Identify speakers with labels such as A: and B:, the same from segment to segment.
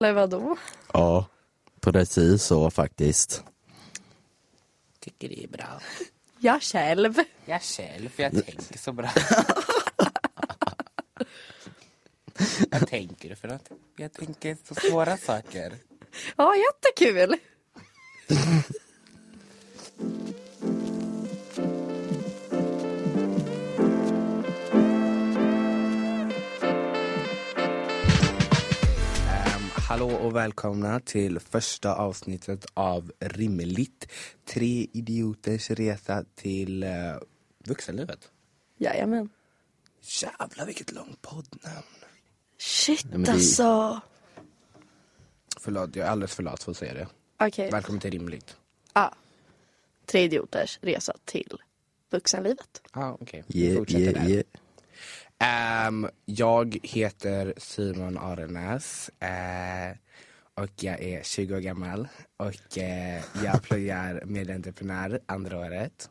A: Eller vadå?
B: Ja, precis så faktiskt.
C: tycker det är bra.
A: Jag själv.
C: Jag själv, för jag tänker så bra. Vad tänker du för något? Jag tänker så svåra saker.
A: Ja, jättekul.
C: Hallå och välkomna till första avsnittet av Rimligt. Tre idioters resa till eh, vuxenlivet.
A: Jajamän.
C: Jävlar vilket långt poddnamn.
A: Shit
B: men det-
A: alltså.
C: Förlåt, jag är alldeles för lat för att säga det.
A: Okej.
C: Välkommen till Rimligt.
A: Ah. Tre idioters resa till vuxenlivet.
C: ah, okej.
B: Yeah,
C: Fortsätter
B: yeah,
C: där.
B: yeah.
C: Ehm, jag heter Simon Arenäs eh, och jag är 20 år gammal och eh, jag pluggar medentreprenör andra året.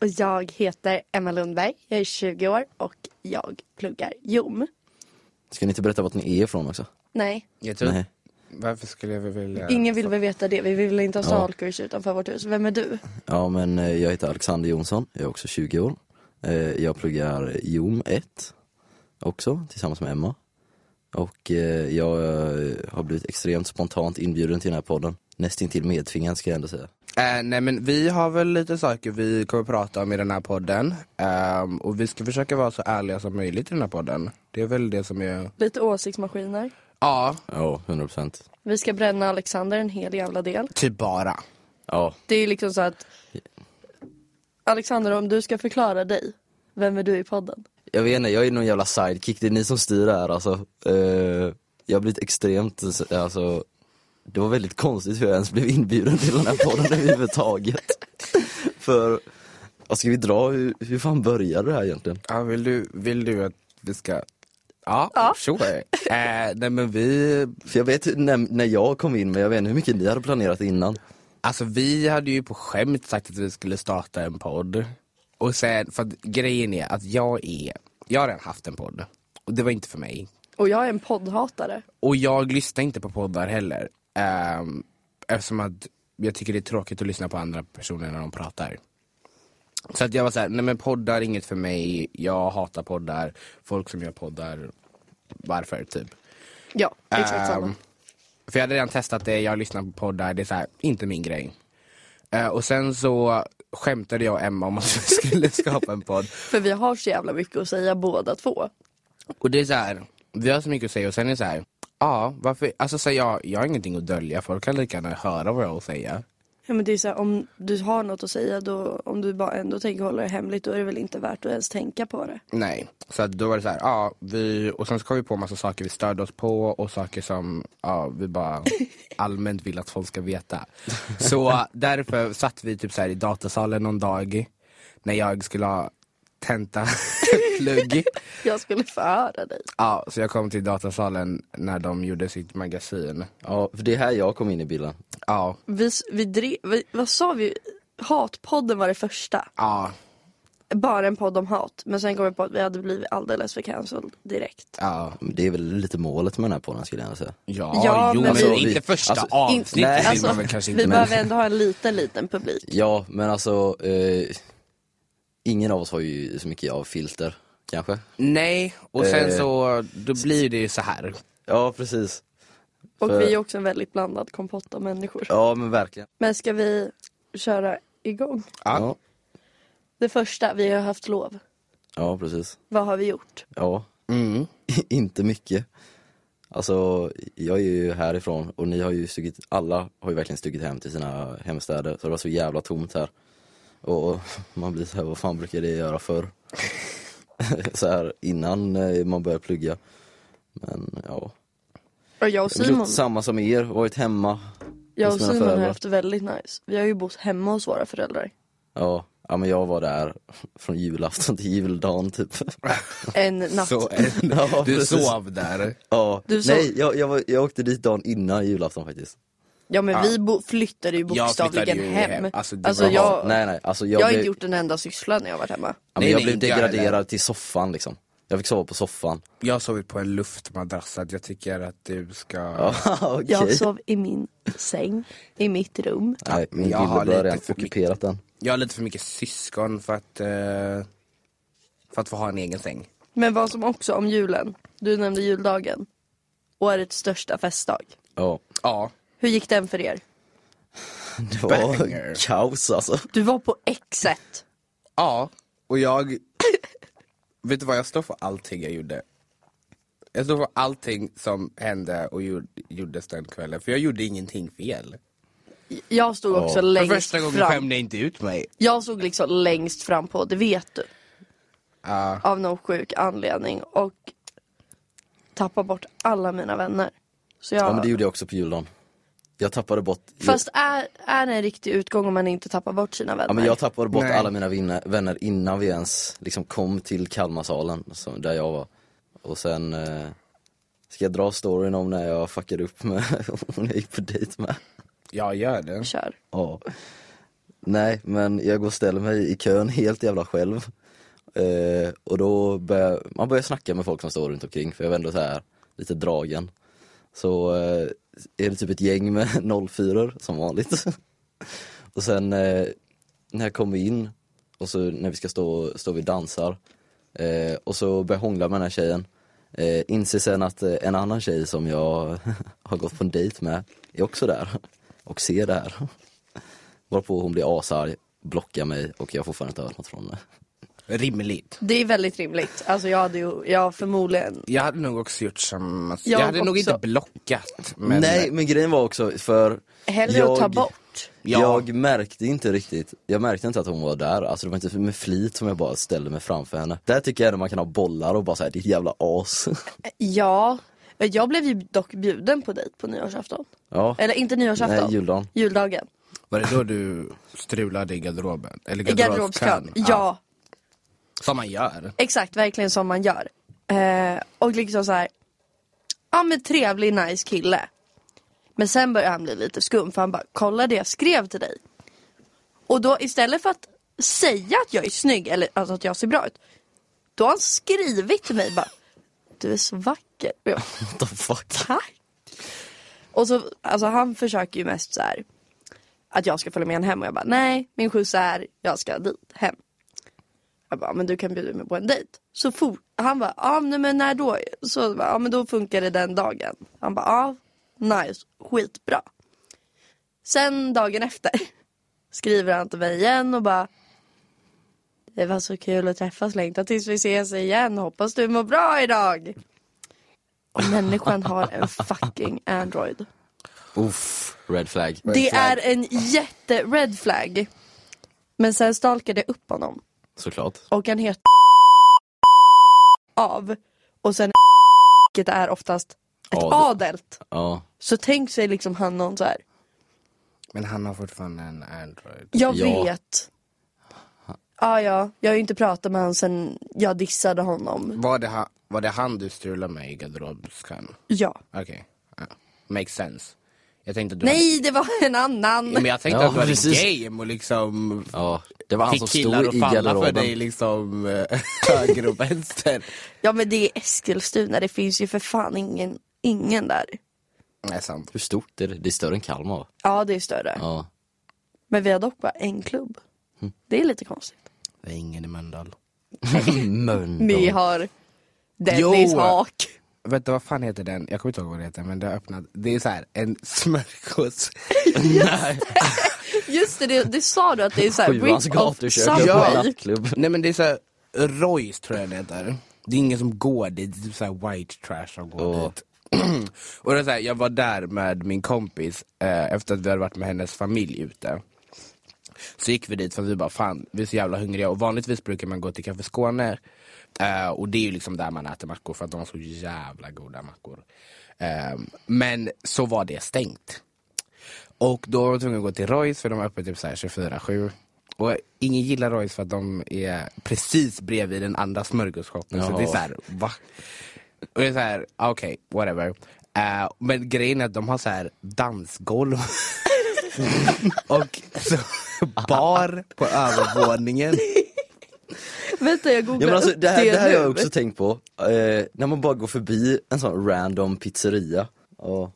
A: Och jag heter Emma Lundberg. Jag är 20 år och jag pluggar JOM.
B: Ska ni inte berätta vart ni är ifrån också?
A: Nej,
C: Jag tror,
B: Nej.
C: typ. Varför skulle jag vilja...
A: ingen vill väl veta det. Vi vill inte ha
B: Ja.
A: salkurs utanför vårt hus. Vem är du?
B: Ja, men eh, jag heter Alexander Jonsson, jag är också 20 år. Eh, Jag pluggar JOM 1 också, tillsammans med Emma. Och eh, jag eh, har blivit extremt spontant inbjuden till den här podden. Nästintill medtvingad ska jag ändå säga.
C: Eh, nej men vi har väl lite saker vi kommer prata om i den här podden Ehm, och vi ska försöka vara så ärliga som möjligt i den här podden. Det är väl det som är...
A: Lite åsiktsmaskiner.
C: Ja,
B: Ja, 100 procent.
A: Vi ska bränna Alexander en hel jävla del.
C: typ bara.
B: Ja,
A: Det är liksom så att Alexander, om du ska förklara dig, vem är du i podden?
B: jag vet inte, jag är någon jävla sidekick, det är ni som styr det här alltså. Eh, Jag har blivit extremt, alltså, det var väldigt konstigt hur jag ens blev inbjuden till den här podden överhuvudtaget. För, vad ska vi dra, hur, hur fan började det här egentligen?
C: Ja, vill, du, vill du att vi ska... Ja,
A: Ja.
C: sure. Eh, nej men vi
B: För jag vet hur- när, när jag kom in, men jag vet inte hur mycket ni hade planerat innan.
C: Alltså vi hade ju på skämt sagt att vi skulle starta en podd. Och sen, för att grejen är att jag är, jag har redan haft en podd. Och det var inte för mig.
A: Och jag är en poddhatare.
C: Och jag lyssnar inte på poddar heller. Ehm, eftersom att jag tycker det är tråkigt att lyssna på andra personer när de pratar. Så att jag var såhär, nej men poddar är inget för mig, jag hatar poddar, folk som gör poddar, varför typ.
A: Ja, exakt samma.
C: Ehm, För jag hade redan testat det, jag lyssnar på poddar, det är så här, inte min grej. Eh, och sen så skämtade jag och Emma om att vi skulle skapa en podd.
A: För vi har så jävla mycket att säga båda två.
C: Och det är så här, vi har så mycket att säga och sen är det så här, ja varför, alltså så här, jag, jag har ingenting att dölja, folk kan lika gärna höra vad jag har att säga.
A: Ja, men det är så här, om du har något att säga, då, om du bara ändå tänker hålla det hemligt, då är det väl inte värt att ens tänka på det.
C: Nej, så att då var det så här, ja vi, och sen så kom vi på massa saker vi störde oss på och saker som, ja vi bara allmänt vill att folk ska veta. Så därför satt vi typ så här i datasalen någon dag när jag skulle ha tentaplugg.
A: Jag skulle förhöra dig.
C: Ja, så jag kom till datasalen när de gjorde sitt magasin.
B: Ja, för det är här jag kom in i bilden.
C: Ja,
A: Vi, vi, drev, vi vad sa vi? Hatpodden var det första.
C: ja,
A: Bara en podd om hat. Men sen kom vi på att vi hade blivit alldeles för cancelled direkt.
C: ja.
B: Det är väl lite målet med den här podden skulle jag ändå säga.
C: Ja,
A: Ja,
C: jo,
A: men
C: men
A: vi-
C: inte första
B: alltså,
A: In-
C: avsnittet
B: nej,
C: vill man väl kanske inte.
A: vi
C: men-
A: behöver ändå ha en liten, liten publik.
B: Ja, men alltså, eh, ingen av oss har ju så mycket av filter, kanske.
C: Nej, och sen
B: Eh.
C: så, då blir det ju så här.
B: Ja, precis.
A: Och
B: För-
A: vi är också en väldigt blandad kompott av människor.
B: Ja, men verkligen.
A: Men ska vi köra igång?
C: Ja.
A: Det första, vi har haft lov.
B: Ja, precis.
A: Vad har vi gjort?
B: Ja,
C: Mm.
B: inte mycket. Alltså, jag är ju härifrån och ni har ju stugit, alla har ju verkligen stugit hem till sina hemstäder. Så det var så jävla tomt här. Och och man blir så här, vad fan brukade jag göra förr? så här innan eh, man börjar plugga. Men ja.
A: Och jag och
B: Jag har
A: Simon,
B: gjort samma som er, varit hemma.
A: jag
B: hos
A: och
B: mina
A: Simon har
B: föräldrar.
A: haft väldigt nice. Vi har ju bott hemma hos våra föräldrar.
B: Ja, ja men jag var där från julafton till juldagen typ.
A: En natt.
C: Så,
B: Ja,
C: du
B: precis.
C: sov där.
B: Ja.
A: Du sa-
B: Nej, jag, jag, var, jag åkte dit dagen innan julafton faktiskt.
A: Ja men
C: Ja.
A: vi bo- flyttade ju
C: Jag flyttade
A: bokstavligen
C: ju
A: hem.
C: hem.
A: Alltså,
C: Alltså, det var-
A: jag,
B: nej nej, alltså jag,
A: jag har
B: blev,
A: inte gjort en enda syssla när jag har varit hemma.
B: ja, men
C: Nej,
B: jag
C: nej,
B: blev
C: inte jag heller.
B: degraderad till soffan liksom. Jag fick sova på soffan.
C: Jag har sovit på en luftmadrass, så att jag tycker att du ska...
B: Ja, okej.
A: Jag sov i min säng, i mitt rum.
B: Nej, min
C: Jag har
B: kille har
C: lite
B: redan
C: för
B: ockuperat den.
C: Jag har lite för mycket syskon för att, eh, för att få ha en egen säng.
A: Men vad som också om julen, du nämnde juldagen. Årets största festdag.
B: Ja.
C: Ja,
A: Hur gick den för er?
B: Det var
C: Banger.
B: kaos alltså.
A: Du var på exet.
C: ja. och jag... vet du vad, jag står för allting jag gjorde. Jag står för allting som hände och gjord, gjordes den kvällen, för jag gjorde ingenting fel.
A: Jag stod också
B: Ja.
C: För
A: längst
C: första gången
A: fram.
C: skämde jag inte ut mig.
A: Jag stod liksom längst fram på, det vet du.
B: Ah.
C: Ja.
A: typ. Av någon sjuk anledning och tappade bort alla mina vänner. Så jag...
B: Ja men det gjorde jag också på juldagen. Jag tappade bort
A: Fast är, är det en riktig utgång om man inte tappar bort sina vänner?
B: Ja, men jag tappade bort
C: Nej.
B: alla mina vinna- vänner innan vi ens liksom kom till Kalmarsalen, som, där jag var. Och sen, eh, ska jag dra storyn om när jag fuckade upp med hon jag gick på dejt med?
C: Jag gör det.
A: Kör.
B: Ja. Nej, men jag går och ställer mig i kön helt jävla själv. Eh, och då börjar man börjar snacka med folk som står runt omkring för jag var ändå så här lite dragen. Så eh, är det typ ett gäng med 04 som vanligt. och sen eh, när jag kommer in och så när vi ska stå, stå vi och dansar eh, och så börjar jag hångla med den här tjejen. Eh, inser sen att eh, en annan tjej som jag har gått på en dejt med är också där och ser det här. Varpå hon blir asarg, blockar mig och jag har fortfarande inte hört något från henne.
C: Rimligt.
A: Det är väldigt rimligt. Alltså jag hade ju, jag förmodligen,
C: Jag hade nog också gjort samma Jag,
A: Jag
C: hade nog
A: också.
C: inte blockat. Men
B: Nej, men grejen var också för
A: hellre
B: jag,
A: att ta bort.
C: Ja.
B: Jag märkte inte riktigt, jag märkte inte att hon var där, alltså det var inte med flit som jag bara ställde mig framför henne. Där tycker jag ändå man kan ha bollar och bara säga ditt jävla as.
A: Ja, jag blev ju dock bjuden på dejt på nyårsafton.
B: ja,
A: Eller inte nyårsafton.
B: Nej, juldagen.
A: Juldagen.
C: var det då du strulade i garderoben? Eller
A: I garderobskön. Ja.
C: Som man gör.
A: exakt. Verkligen som man gör. Eh, och liksom så här. ja men trevlig, nice kille. Men sen börjar han bli lite skum för han bara, kolla det jag skrev till dig. Och då istället för att säga att jag är snygg eller alltså att jag ser bra ut. Då har han skrivit till mig bara, du är så vacker. Och jag, bara,
B: what the fuck.
A: tack. Och så, alltså han försöker ju mest så här att jag ska följa med honom hem och jag bara nej, min skjuts är, jag ska dit, hem. Jag bara, men du kan bjuda mig på en dejt. Så for, han bara, ja nej, men när då? Så jag bara, ja men då funkar det den dagen. Han bara, ja, nice, skitbra. Sen dagen efter skriver han till mig igen och bara det var så kul att träffas, längtar tills vi ses igen, hoppas du mår bra idag. Och människan har en fucking Android.
B: Uff, red flag.
A: Det
C: flag.
A: är en jätte red flag. Men sen stalkade jag upp honom
B: Såklart.
A: och han heter av och sen det är oftast ett
B: Adel.
A: adelt.
B: Ja.
A: Så tänk sig liksom han någon så här.
C: Men han har fortfarande en Android.
A: Jag
B: Ja.
A: vet. Ah, ja, jag har ju inte pratat med honom sen jag dissade honom.
C: Var det, ha, var det han du strulade med i garderobskön?
A: Ja.
C: Okej. Ja. Makes sense. Jag tänkte att du
A: Nej, det var en annan.
C: Hade, men jag tänkte
B: Ja,
C: att du hade
B: precis.
C: game och liksom
B: ja, det var han som
C: fick killar
B: stod
C: att
B: i
C: falla för
B: garderoben.
C: dig liksom eh, höger och vänster.
A: Ja men det är Eskilstuna, det finns ju för fan ingen, ingen där.
C: Nej, sant.
B: Hur stort är det? Det är större än Kalmar va?
A: Ja det är större.
B: Ja.
A: Men vi har dock bara en klubb. Det är lite konstigt.
C: Det är ingen i Mölndal.
B: Mölndal.
A: Vi har Dennis
C: Jo.
A: Haak.
C: Vet du vad fan heter den? Jag kommer inte ihåg vad det heter men det har öppnat. Det är så här en smörgås.
A: Just det, det, det sa du att det är såhär
B: Sjuans
A: rip off
B: gatukök och en
A: Subway.
B: nattklubb.
C: Nej men det är så här, Royce tror jag det heter. Det är ingen som går dit, det är typ så här white trash som går
B: Åh.
C: dit. och det är så här, jag var där med min kompis eh, efter att vi hade varit med hennes familj ute. Så gick vi dit för att vi bara fan, vi är så jävla hungriga och vanligtvis brukar man gå till Café Skåne eh, och det är ju liksom där man äter mackor för att de har så jävla goda mackor. Eh, men så var det stängt. Och då var de tvungna att gå till Royce för de var öppet typ så här 24-7. Och ingen gillar Royce för att de är precis bredvid den andra smörgåsshoppen. Så
B: Jaha.
C: det är så här, va? Och det är så här, ah, okej, whatever. Eh, men grejen är att de har så här dansgolv. och så bar på övervåningen.
A: Vänta jag
B: Ja,
A: googlar
B: men alltså,
A: upp
B: det här, det här har
A: nu.
B: jag också tänkt på, eh, när man bara går förbi en sån random pizzeria. Ja.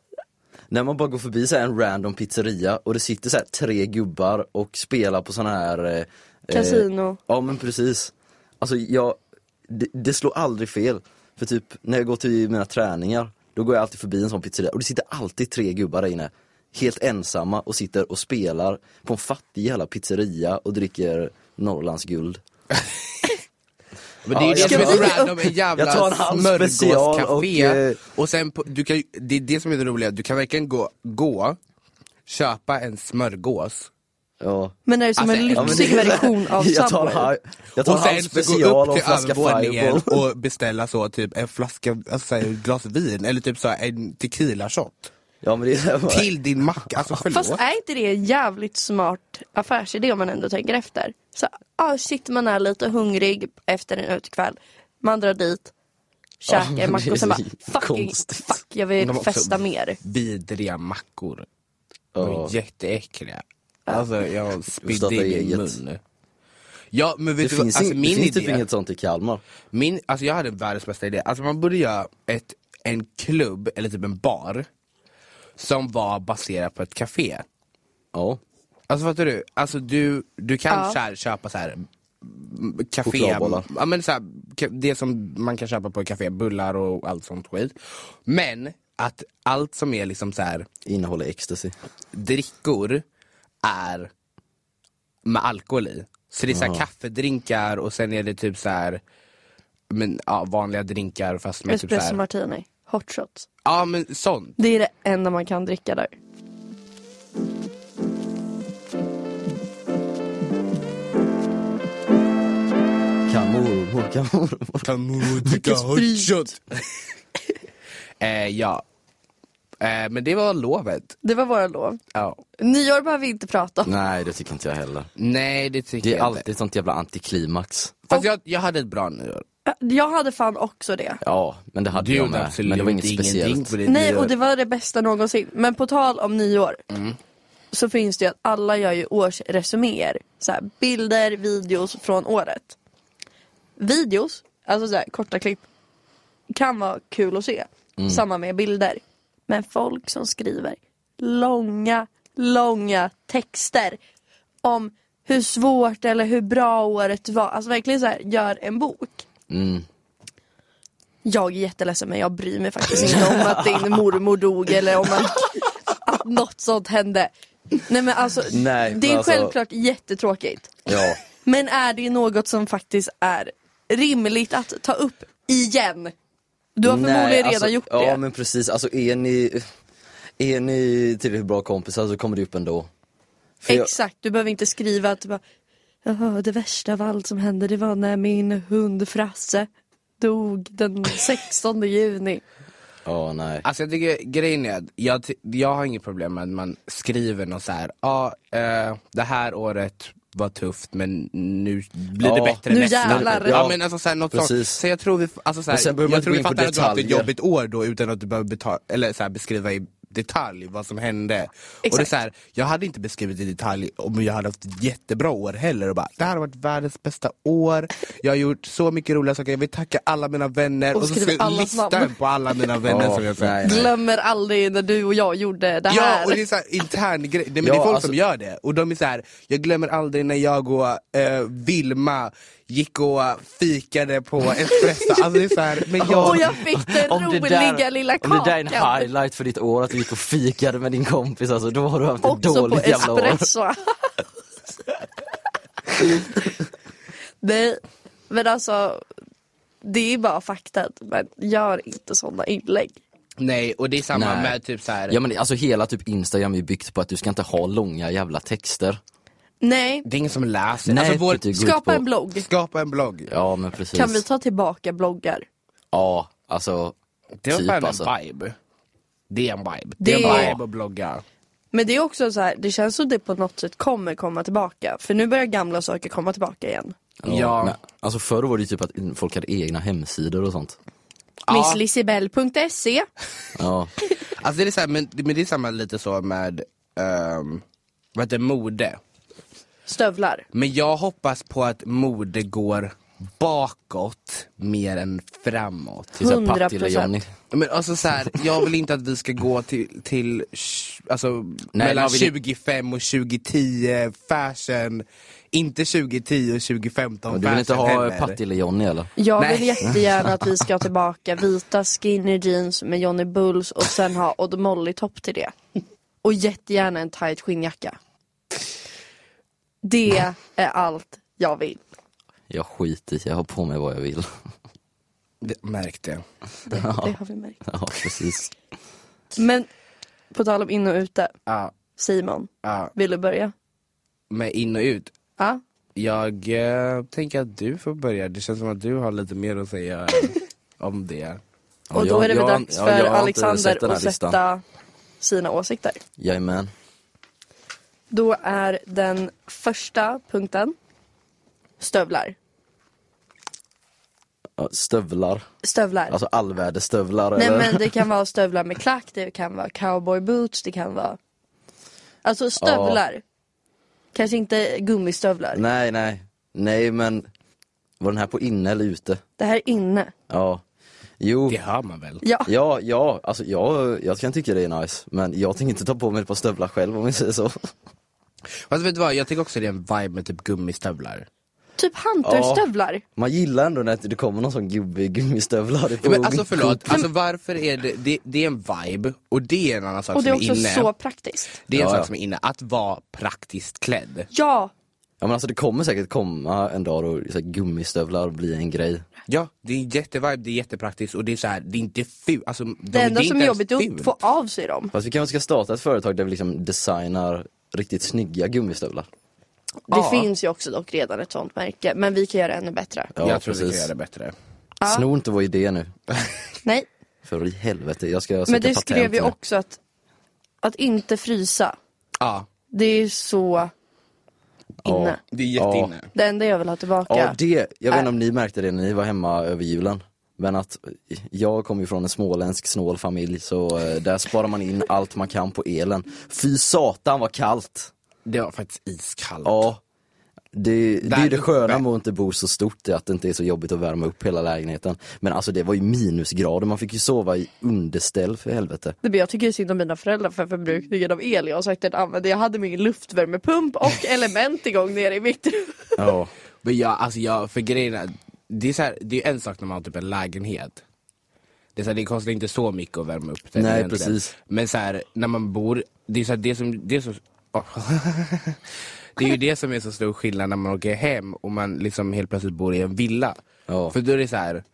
B: När man bara går förbi så här en random pizzeria och det sitter så här tre gubbar och spelar på sån här eh, eh,
A: Casino.
B: Ja men precis. Alltså jag, det, det slår aldrig fel. För typ när jag går till mina träningar, då går jag alltid förbi en sån pizzeria och det sitter alltid tre gubbar där inne. Helt ensamma och sitter och spelar på en fattig jävla pizzeria och dricker Norrlands guld.
C: Men det är
B: Ja,
C: ju det
B: jag
C: som är
B: tar-
C: så random, en jävla
B: jag tar en halv special och,
C: smörgåscafé.
B: eh,
C: Och, sen, på, du kan, ju- det är det som är det roliga, du kan verkligen gå, gå köpa en smörgås
B: Ja.
A: Men är det som
C: Alltså,
A: en
C: ja, men
A: lyxig
B: det-
A: version av
B: jag tar,
A: Subway?
B: halv- jag tar
C: och
B: halv
C: sen så gå
B: special
C: upp
B: och en
C: till
B: flaska
C: övervåningen
B: fireball.
C: och beställa så typ en flaska, alltså, så här, ett glas vin eller typ så här, en tequila shot
B: Ja men det är
C: till din macka, alltså förlåt.
A: Fast är inte det en jävligt smart affärsidé om man ändå tänker efter? Så ah, shit man är lite hungrig efter en utekväll, man drar dit, käkar
B: men
A: en
B: det
A: macka och
B: är
A: sen bara
B: ju
A: fucking,
B: konstigt.
A: fuck jag
C: De
A: vill
C: har också
A: festa mer.
C: Vidriga mackor. De är
B: Ja.
C: jätteäckliga. Alltså jag spydde
B: starta
C: i min
B: eget.
C: mun. Ja men
B: Det
C: vet du vad,
B: finns,
C: alltså,
B: ing-
C: min
B: det finns typ
C: idé,
B: inget sånt i Kalmar.
C: min, alltså jag hade världens bästa idé. Alltså man borde göra ett, en klubb, eller typ en bar, som var baserad på ett café.
B: Ja.
C: Alltså fattar du? Alltså du, du kan
A: Ja.
C: så här, köpa så här m- café,
B: Chokladbollar.
C: ja, men så här, ka- det som man kan köpa på ett café, bullar och allt sånt skit. Men att allt som är liksom så här
B: Innehåller ecstasy.
C: drickor är med alkohol i. Så det är så här kaffedrinkar och sen är det typ så här men, ja, vanliga drinkar fast med typ så
A: Espresso
C: här.
A: martini, hot shots.
C: Ja men sånt.
A: Det är det enda man kan dricka där.
B: Kan mormor, kan mormor.
C: Kan du dricka
A: sprit.
C: hotshot? eh, ja. Eh, men det var lovet.
A: Det var våra lov.
C: Ja.
A: Nyår behöver vi inte prata om.
B: Nej det tycker inte jag heller.
C: Nej det tycker
B: Det är
C: jag inte.
B: alltid ett sånt jävla antiklimax.
C: Fast jag, jag hade ett bra nyår.
A: Jag hade fan också det.
B: Ja, men det hade
C: Du
B: jag
C: gjorde
B: med.
C: absolut
B: Men det var inget speciellt.
C: på ditt
A: Nej
C: nyår.
A: och det var det bästa någonsin. Men på tal om nyår. Så finns det ju att alla gör ju årsresuméer. Så här, bilder, videos från året. Videos, alltså så här, korta klipp. Kan vara kul att se. Samma med bilder. Men folk som skriver långa, långa texter. Om hur svårt eller hur bra året var. Alltså verkligen så här, gör en bok.
B: Mm.
A: Jag är jätteledsen men jag bryr mig faktiskt inte om att din mormor dog eller om att, att något sånt hände. Nej men alltså,
B: Nej,
A: det är
B: men alltså-
A: självklart jättetråkigt.
B: Ja,
A: Men är det något som faktiskt är rimligt att ta upp igen? Du har förmodligen redan
B: alltså,
A: gjort
B: ja,
A: det.
B: Ja men precis, alltså är ni, är ni tillräckligt bra kompisar så kommer det upp ändå. För jag-
A: Exakt, du behöver inte skriva att du bara, "Jaha, det värsta av allt som hände det var när min hund Frasse dog den 16 juni.
B: Ja, nej.
C: Alltså jag tycker grejen är att jag, ty- jag har inget problem med att man skriver något så här. ja eh, det här året var tufft men nu blir det
B: Ja.
C: bättre
A: Nu
C: nästa.
A: jävlar.
C: Ja men alltså så här, något sånt.
B: Precis.
C: Så jag tror vi, f- alltså så
B: Men sen
C: här,
B: behöver man
C: jag
B: inte
C: tror vi
B: gå in på
C: fattar att du har haft ett
B: detaljer.
C: jobbigt år då utan att du behöver betala, eller så här, beskriva i detalj vad som hände. Och det är
A: Exakt.
C: så här, jag hade inte beskrivit i detalj om jag hade haft ett jättebra år heller och bara, det här har varit världens bästa år, jag har gjort så mycket roliga saker, jag vill tacka alla mina vänner
A: Och
C: och, så
A: skriv
C: ska jag
A: allas
C: lista
A: namn.
C: på alla mina vänner
B: Ja,
C: som jag säger.
B: nej, nej.
A: Glömmer aldrig när du och jag gjorde det här.
C: Ja, och det är så här intern grej. Nej, men
B: Ja,
C: det är folk
B: alltså-
C: som gör det. Och de är så här, jag glömmer aldrig när jag och eh, Vilma gick och fikade på Espresso. Alltså det är så här, men jag...
A: Och jag fick den roliga lilla
B: om det där är en
A: kakan.
B: highlight för ditt år, att du gick och fikade med din kompis alltså, då har du haft ett
A: Också på
B: dåligt jävla år.
A: espresso. Nej, men alltså. Det är bara faktat. Men gör inte sådana inlägg.
C: Nej, och det är samma
B: Nej.
C: med typ så här.
B: Ja men det- alltså hela typ Instagram är ju byggt på att du ska inte ha långa jävla texter.
A: Nej,
C: det är ingen som läser.
B: Nej, typ-
C: alltså, vår,
B: för det går ut på-
A: skapa en blogg.
C: skapa en blogg.
B: Ja men precis.
A: Kan vi ta tillbaka bloggar?
B: Ja, alltså.
C: Det var
B: typ,
C: fan
B: alltså.
C: en vibe. Det är en vibe. Det,
A: Det
C: är en
A: är-
C: vibe att blogga.
A: Men det är också så här, det känns som det på något sätt kommer komma tillbaka. För nu börjar gamla saker komma tillbaka igen.
C: Ja.
B: Men, alltså förr var det ju typ att folk hade egna hemsidor och sånt.
A: Misslissibell.se
B: Ja.
C: Alltså det är så här, men, men det är samma lite så med, um, vad heter det, mode.
A: Stövlar.
C: Men jag hoppas på att mode går bakåt mer än framåt.
B: Till så här
A: 100%.
B: Partille Johnny.
C: Men alltså så här, jag vill inte att vi ska gå till, till sh- alltså, mellan
B: man vill-
C: 25 och 2010 fashion, inte 2010 och 2015
B: Men Du vill inte
C: fashion
B: ha
C: heller.
B: eh, Partille Johnny eller?
A: Jag
C: Nej.
A: vill jättegärna att vi ska ha tillbaka vita skinny jeans med Johnny Bulls och sen ha Odd Molly-topp till det. Och jättegärna en tight skinnjacka. Det är allt jag vill.
B: Jag skiter i, jag har på mig vad jag vill.
C: Det- Märkte.
A: Det, det har vi märkt.
B: Ja precis.
A: Men på tal om in och ute,
C: Ja,
A: Simon,
C: ja,
A: vill du börja?
C: med in och ut.
A: Ja,
C: Jag eh, tänker att du får börja, det känns som att du har lite mer att säga eh, om det.
A: och
B: Ja,
A: då är det väl
B: jag-
A: dags
B: ja,
A: för
B: jag har inte sett
A: Alexander
B: den här
A: att
B: listan.
A: sätta sina åsikter.
B: Jajamän.
A: Då är den första punkten stövlar.
B: Ja, Stövlar,
A: Stövlar.
B: alltså allvädersstövlar
A: Nej
B: eller?
A: men det kan vara stövlar med klack, det kan vara cowboy boots, det kan vara Alltså stövlar Kanske inte gummistövlar
B: Nej nej, nej men var den här på inne eller ute?
A: Det här är inne
B: Ja. Jo,
C: Det hör man väl?
A: Ja,
B: ja, ja, alltså jag, jag kan tycka det är nice men jag tänker inte ta på mig ett par stövlar själv om vi säger så.
C: Fast vet du vad, jag tycker också det är en vibe med typ gummistövlar.
A: typ hunterstövlar
B: Man gillar ändå när det kommer någon sån gubbe i gummistövlar. i
A: Oh,
C: Ja, men
B: på-
C: alltså förlåt, alltså varför är det, det, det är en vibe och det är en annan sak
A: Och det är
C: som är
A: också
C: inne.
A: så praktiskt
C: Det är en
B: Ja,
C: sak
B: ja.
C: som är inne, att vara praktiskt klädd.
A: Ja,
B: Ja men alltså det kommer säkert komma en dag då så här, gummistövlar blir en grej.
C: Ja, det är en jättevibe, det är jättepraktiskt och det är så här, det är inte fult. Alltså, de,
A: det enda
C: är
A: som är
C: inte
A: jobbigt
C: ens
A: är att
C: fult.
A: få av sig dem
B: Fast vi kanske ska starta ett företag där vi liksom designar riktigt snygga gummistövlar.
A: Det
C: Ja.
A: finns ju också dock redan ett sånt märke, men vi kan göra ännu bättre
B: Ja,
C: jag tror vi kan
B: precis.
C: göra det bättre.
B: Sno inte vår idé nu.
A: Nej,
B: För i helvete, jag ska
A: men
B: söka
A: det
B: patent
A: skrev ju
B: nu.
A: också att Att inte frysa,
C: Ja,
A: det är så inne
C: det är
B: Ja.
C: jätteinne.
A: Det enda jag vill ha tillbaka
B: Ja det, jag vet
A: Äh.
B: inte om ni märkte det när ni var hemma över julen. Men att jag kommer ju från en småländsk snål familj så eh, där sparar man in allt man kan på elen. Fy satan vad kallt!
C: Det var faktiskt iskallt.
B: Ja. Det, det är
C: Där
B: ju det sköna
C: uppe.
B: med att inte bo så stort, det är att det inte är så jobbigt att värma upp hela lägenheten. Men alltså det var ju minusgrader, man fick ju sova i underställ för helvete.
A: Nej, men jag tycker ju synd om mina föräldrar för förbrukningen av el jag har sagt att jag använde. Jag hade min luftvärmepump och element igång nere i mitt rum.
B: Ja.
C: Men jag, alltså jag, för grejen är, det är, så här, det är en sak när man har typ en lägenhet. Det, är så här, det kostar inte så mycket att värma upp den
B: Nej,
C: egentligen.
B: precis.
C: Men så här, när man bor, det är så här, det som, det är så Åh. Det är ju det som är så stor skillnad när man åker hem och man liksom helt plötsligt bor i en villa.
B: Ja.
C: För då är det så här.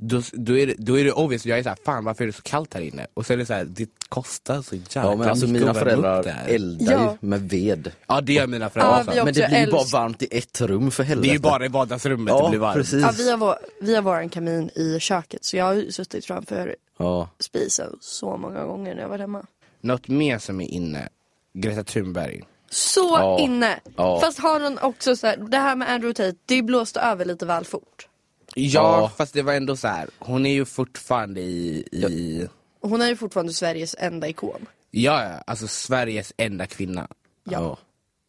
C: Då, då, är det, då är det obvious, jag är såhär, fan varför är det så kallt här inne? Och så är det så här, det kostar så jävla
B: ja men alltså
C: mycket
B: mina
C: att värma upp
B: föräldrar
C: det här.
B: eldar
A: Ja.
B: ju med ved.
C: Ja det gör mina
A: Ja,
C: föräldrar
A: vi
C: också.
A: har-
B: Men det
A: också
B: blir ju bara
A: älsk-
B: varmt i ett rum för helvete.
C: Det är ju bara i vardagsrummet det
B: Ja,
C: blir varmt.
B: precis.
A: Ja, vi, har vår, vi har vår kamin i köket så jag har ju suttit framför
B: Ja.
A: spisen så många gånger när jag var hemma.
C: Något mer som är inne, Greta Thunberg.
A: Så
B: Ja.
A: inne!
B: Ja.
A: Fast har hon också så här, det här med Andrew Tate, det blåste över lite väl fort.
C: Ja,
B: Ja.
C: fast det var ändå så här. hon är ju fortfarande i, i
A: Och Hon är ju fortfarande Sveriges enda ikon.
C: ja, ja, alltså Sveriges enda kvinna.
A: Ja.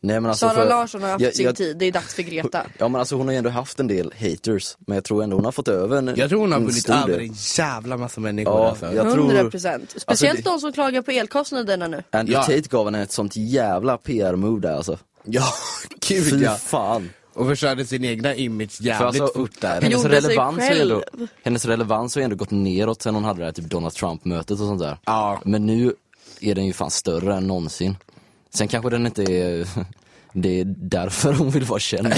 B: Nej, men alltså
A: Sara
B: för-
A: Larsson har haft
B: jag-
A: sin
B: jag-
A: tid, det är dags för Greta.
B: Ja men alltså hon har ju ändå haft en del haters, men jag tror ändå hon har fått över en
C: Jag tror hon har
B: en
C: vunnit
B: stor
C: över
B: del.
C: en jävla massa människor
B: Ja,
C: alltså.
B: jag tror-
A: 100%. Speciellt
B: Alltså,
A: de som klagar på elkostnaderna nu.
B: Andrew
C: Ja.
B: Tate gav henne ett sånt jävla PR-move där alltså.
C: Ja, gud
B: Fy
C: ja.
B: fan.
C: Och förstörde sin egna image
B: För
C: jävligt
B: alltså,
C: fort där.
B: hennes,
A: Gjorde sig
B: relevans har ju ändå,
A: själv.
B: hennes relevans har ju ändå gått neråt sen hon hade det här typ Donald Trump-mötet och sånt där.
C: Ja.
B: Men nu är den ju fan större än någonsin. Sen kanske den inte är, det är därför hon vill vara känd.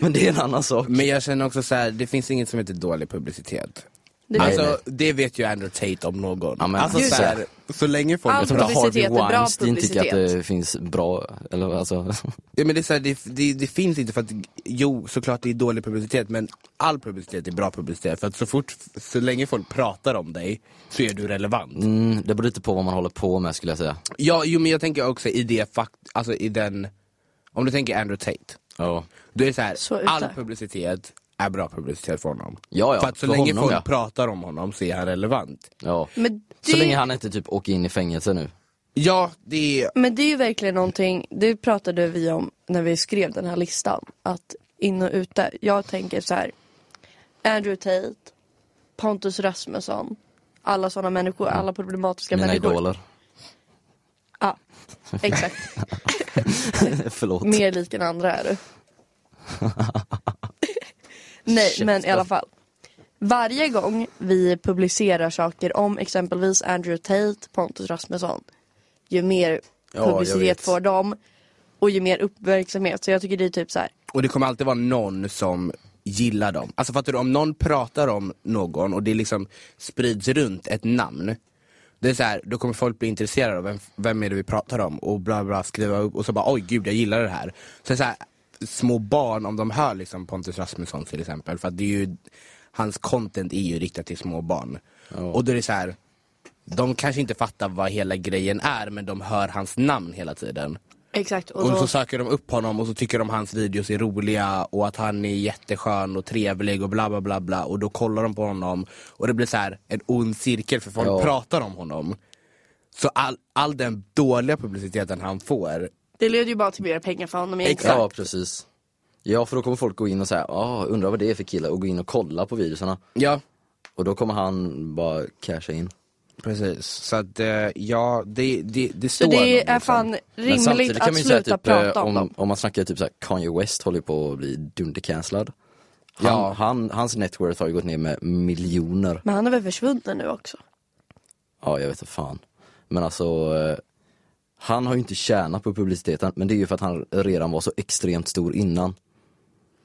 B: men det är en annan sak.
C: Men jag känner också så här, det finns inget som heter dålig publicitet.
A: Det
B: Nej,
C: alltså det vet ju Andrew Tate om någon.
B: Ja, men
C: alltså
B: just
C: så, här, så länge folk...
A: Allt
B: Jag tror inte Harvey
A: Publicitet är bra
B: Weinstein tycker att
A: publicitet.
B: det finns bra, eller alltså,
C: Ja, men det, är så här, det, det, det finns inte för att, jo såklart det är dålig publicitet men all publicitet är bra publicitet för att så fort, så länge folk pratar om dig så är du relevant.
B: mm, det beror lite på vad man håller på med skulle jag säga.
C: Ja, jo men jag tänker också i det fakt, alltså i den, om du tänker Andrew Tate,
B: Ja.
C: då är det så här,
A: Så ute.
C: all publicitet är bra publicitet för honom.
B: Ja, ja,
C: för att så
B: för
C: länge
B: honom,
C: folk
B: ja.
C: pratar om honom så är han relevant.
B: ja.
A: Men
B: Så
A: det-
B: länge han inte typ åker in i fängelse nu.
C: Ja, det är,
A: Men det är ju verkligen någonting, det pratade vi om när vi skrev den här listan, att in och ute. Jag tänker så här. Andrew Tate, Pontus Rasmusson, alla sådana människor, alla problematiska
B: Mm. Mina
A: människor.
B: idoler.
A: Ja, exakt.
B: Förlåt.
A: Mer lik än andra är du. Nej, men i alla fall. Varje gång vi publicerar saker om exempelvis Andrew Tate, Pontus Rasmusson, ju mer
C: Ja, jag
A: publicitet
C: vet.
A: får de och ju mer uppmärksamhet. Så jag tycker det är typ så här.
C: Och det kommer alltid vara någon som gillar dem. Alltså fattar du, om någon pratar om någon och det liksom sprids runt ett namn. Det är så här, då kommer folk bli intresserade av vem, vem är det vi pratar om och bla bla skriva upp och så bara oj gud jag gillar det här. Så, så här små barn om de hör liksom Pontus Rasmusson till exempel för att det är ju, hans content är ju riktat till små barn. Och då är det så här, de kanske inte fattar vad hela grejen är men de hör hans namn hela tiden.
A: Exakt.
C: Och så söker de upp honom och så tycker de hans videos är roliga och att han är jätteskön och trevlig och bla bla bla bla och då kollar de på honom och det blir så här en ond cirkel för folk
B: Ja.
C: pratar om honom. Så all, all den dåliga publiciteten han får,
A: Det leder ju bara till mer pengar för honom egentligen.
B: Ja, precis. Ja, för då kommer folk gå in och säga, ah, undrar vad det är för kille och gå in och kolla på videorna.
C: ja
B: Och då kommer han bara casha in.
C: precis. Så att eh, ja, det, det, det står
A: Så det
C: någon,
A: är
C: liksom.
A: fan
B: Men samtidigt
A: rimligt
B: kan
A: att
B: man ju
A: sluta
B: säga, typ,
A: prata
B: eh,
A: om, dem.
B: om, om man snackar typ så här, Kanye West håller ju på att bli dundercancellad. Han,
C: Ja.
B: han, hans networth har ju gått ner med miljoner.
A: Men han är väl försvunnen nu också?
B: Ja, jag vet inte fan. Men alltså, eh, han har ju inte tjänat på publiciteten, men det är ju för att han redan var så extremt stor innan.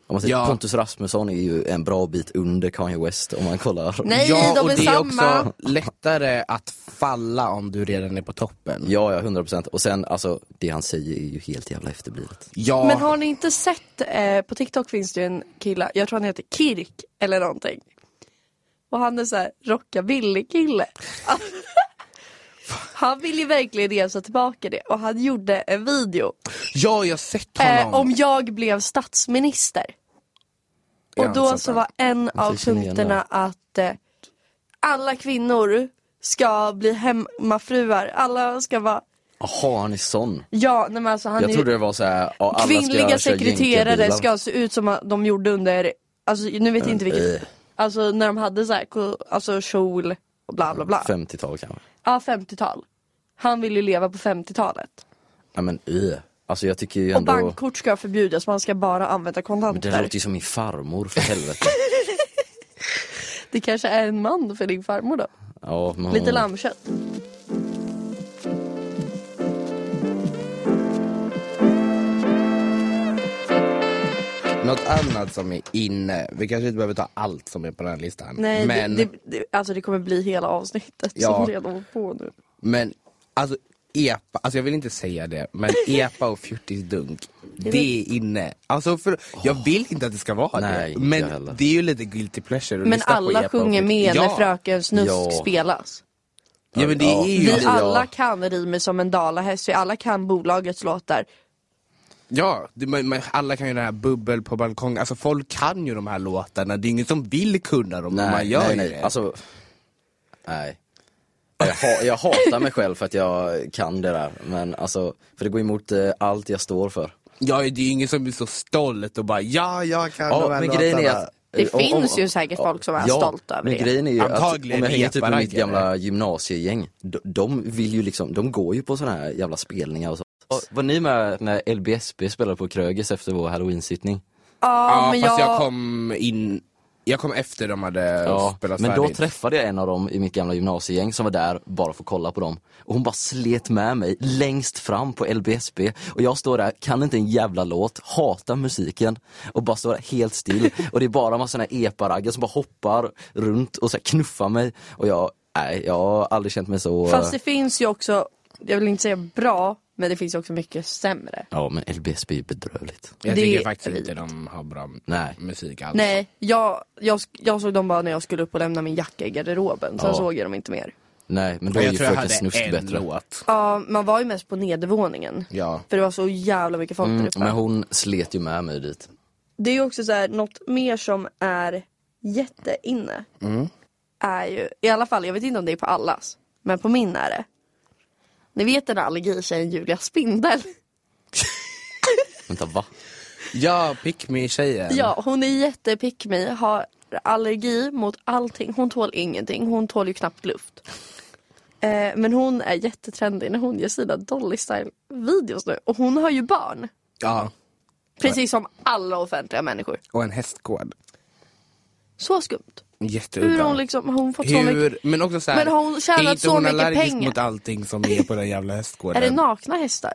B: Om man säger,
C: Ja.
B: Pontus Rasmusson är ju en bra bit under Kanye West om man kollar.
A: Nej,
C: ja,
A: de
C: och
A: är
C: det är
A: samma!
C: också lättare att falla om du redan är på toppen.
B: Ja, ja, 100%. Och sen, alltså, det han säger är ju helt jävla efterblivet.
C: Ja,
A: Men har ni inte sett, eh, på TikTok finns det ju en kille, jag tror han heter Kirk eller någonting. Och han är såhär rockabilly-kille. han vill ju verkligen resa tillbaka det och han gjorde en video
C: ja jag har sett honom.
A: eh, om jag blev statsminister.
C: Ja,
A: Och då
C: sånt
A: så
C: där.
A: var en av
B: fick känna igen
A: punkterna att eh, alla kvinnor ska bli hemmafruar, alla ska vara,
B: Jaha, han är sån.
A: ja nej men alltså han är
B: jag
A: ju
B: trodde det var såhär, ja, alla
A: kvinnliga
B: ska
A: sekreterare ska se ut som de gjorde under, alltså nu vet jag inte vilket,
B: Eh.
A: alltså när de hade så här, ko- alltså kjol och bla bla bla.
B: 50-tal kanske.
A: Ja, 50-tal. Han vill ju leva på 50-talet.
B: Ja men ö. Alltså jag tycker ju
A: Och
B: ändå,
A: bankkort ska förbjudas, man ska bara använda
B: men det
A: kontanter.
B: låter
A: Det,
B: ju som min farmor för helvete.
A: kanske är en man för din farmor då.
B: ja, men hon-
A: Lite lammkött.
C: Något annat som är inne, vi kanske inte behöver ta allt som är på den här listan.
A: Nej,
C: men,
A: det, det, det, alltså det kommer bli hela avsnittet
C: Ja.
A: som redan hållit på nu.
C: men alltså EPA, alltså jag vill inte säga det, men EPA och fjortisdunk, det är inne. Alltså för, jag vill inte att det ska vara
B: Nej,
C: det,
B: inte jag
C: men
B: heller.
C: det är ju lite guilty pleasure att
A: Men
C: lyssna på
A: alla
C: EPA och
A: sjunger med
C: 40
A: när
C: ja,
A: Fröken Snusk
B: Ja.
A: spelas.
C: Ja men det
B: Ja.
C: är ju,
A: Vi
B: Ja.
A: alla kan rimer som en dalahäst, vi alla kan bolagets låtar.
C: ja, det, men, men alla kan ju den här bubbel på balkongen, alltså folk kan ju de här låtarna, det är ingen som vill kunna dem,
B: Nej,
C: men man gör
B: nej,
C: ju
B: nej.
C: det.
B: Alltså, nej. Jag, ha, jag hatar mig själv för att jag kan det där, men alltså, för det går emot eh, allt jag står för.
C: ja, det är ju ingen som blir så stolt och bara ja, jag kan
B: Ja,
C: de här
B: men grejen är
C: låtarna."
B: att eh,
A: Det
B: om- om-
A: finns ju säkert folk som är
B: ja,
A: stolta över
B: men
A: det.
B: grejen är ju att om
C: Antagligen
B: jag hänger typ med mitt
C: reparägare.
B: gamla gymnasiegäng, de, de vill ju liksom, de går ju på såna här jävla spelningar och så. Var ni med när LBSB spelade på Krögers efter vår halloween-sittning?
A: Ja,
C: Ja,
A: men
C: fast jag...
A: jag
C: kom in, jag kom efter de hade spelat
B: men då
C: färdigt.
B: träffade jag en av dem i mitt gamla gymnasiegäng som var där bara för att kolla på dem. Och hon bara slet med mig längst fram på LBSB och jag står där, kan inte en jävla låt, hatar musiken och bara står där helt still. Och det är bara en massa såna här epa-raggare som bara hoppar runt och så här knuffar mig. Och jag, nej, jag har aldrig känt mig så... eh,
A: Fast det finns ju också, jag vill inte säga bra, men det finns ju också mycket sämre.
B: Ja men LBSB är bedrövligt.
C: jag
A: det-
C: tycker faktiskt inte de har bra
B: Nej.
C: musik alls.
A: Nej, jag, jag, jag såg dem bara när jag skulle upp och lämna min jacka i garderoben, sen
B: Ja.
A: såg jag dem inte mer.
B: Nej men då
C: Men
B: är
C: jag
B: ju
C: tror jag
B: Fröken
C: hade
B: Snusk
C: en
B: bättre.
C: låt.
A: Ja, man var ju mest på nedervåningen.
C: Ja. Mm,
A: För det var så jävla mycket folk där uppe.
B: Mm, Men hon slet ju med mig dit.
A: Det är ju också så här, något mer som är jätteinne.
C: Mm.
A: Är ju, i alla fall, jag vet inte om det är på allas. Men på min är det. Ni vet den här allergitjejen Julia Spindel?
B: Vänta va?
C: Ja, pick me tjejen.
A: Ja, hon är jättepick me, har allergi mot allting. Hon tål ingenting, hon tål ju knappt luft. Eh, men hon är jättetrendig när hon gör sina Dolly Style videos nu. Och hon har ju barn.
C: ja.
A: Precis som alla offentliga människor.
C: Och en hästgård.
A: Så skumt.
C: Jätteudda.
A: Hur har hon liksom, har hon fått så mycket?
C: Hur, men också så här,
A: Men har hon tjänat
C: är inte
A: så
C: hon
A: mycket
C: allergisk
A: pengar?
C: mot allting som är på den jävla
A: Är
C: hästgården?
A: det nakna hästar?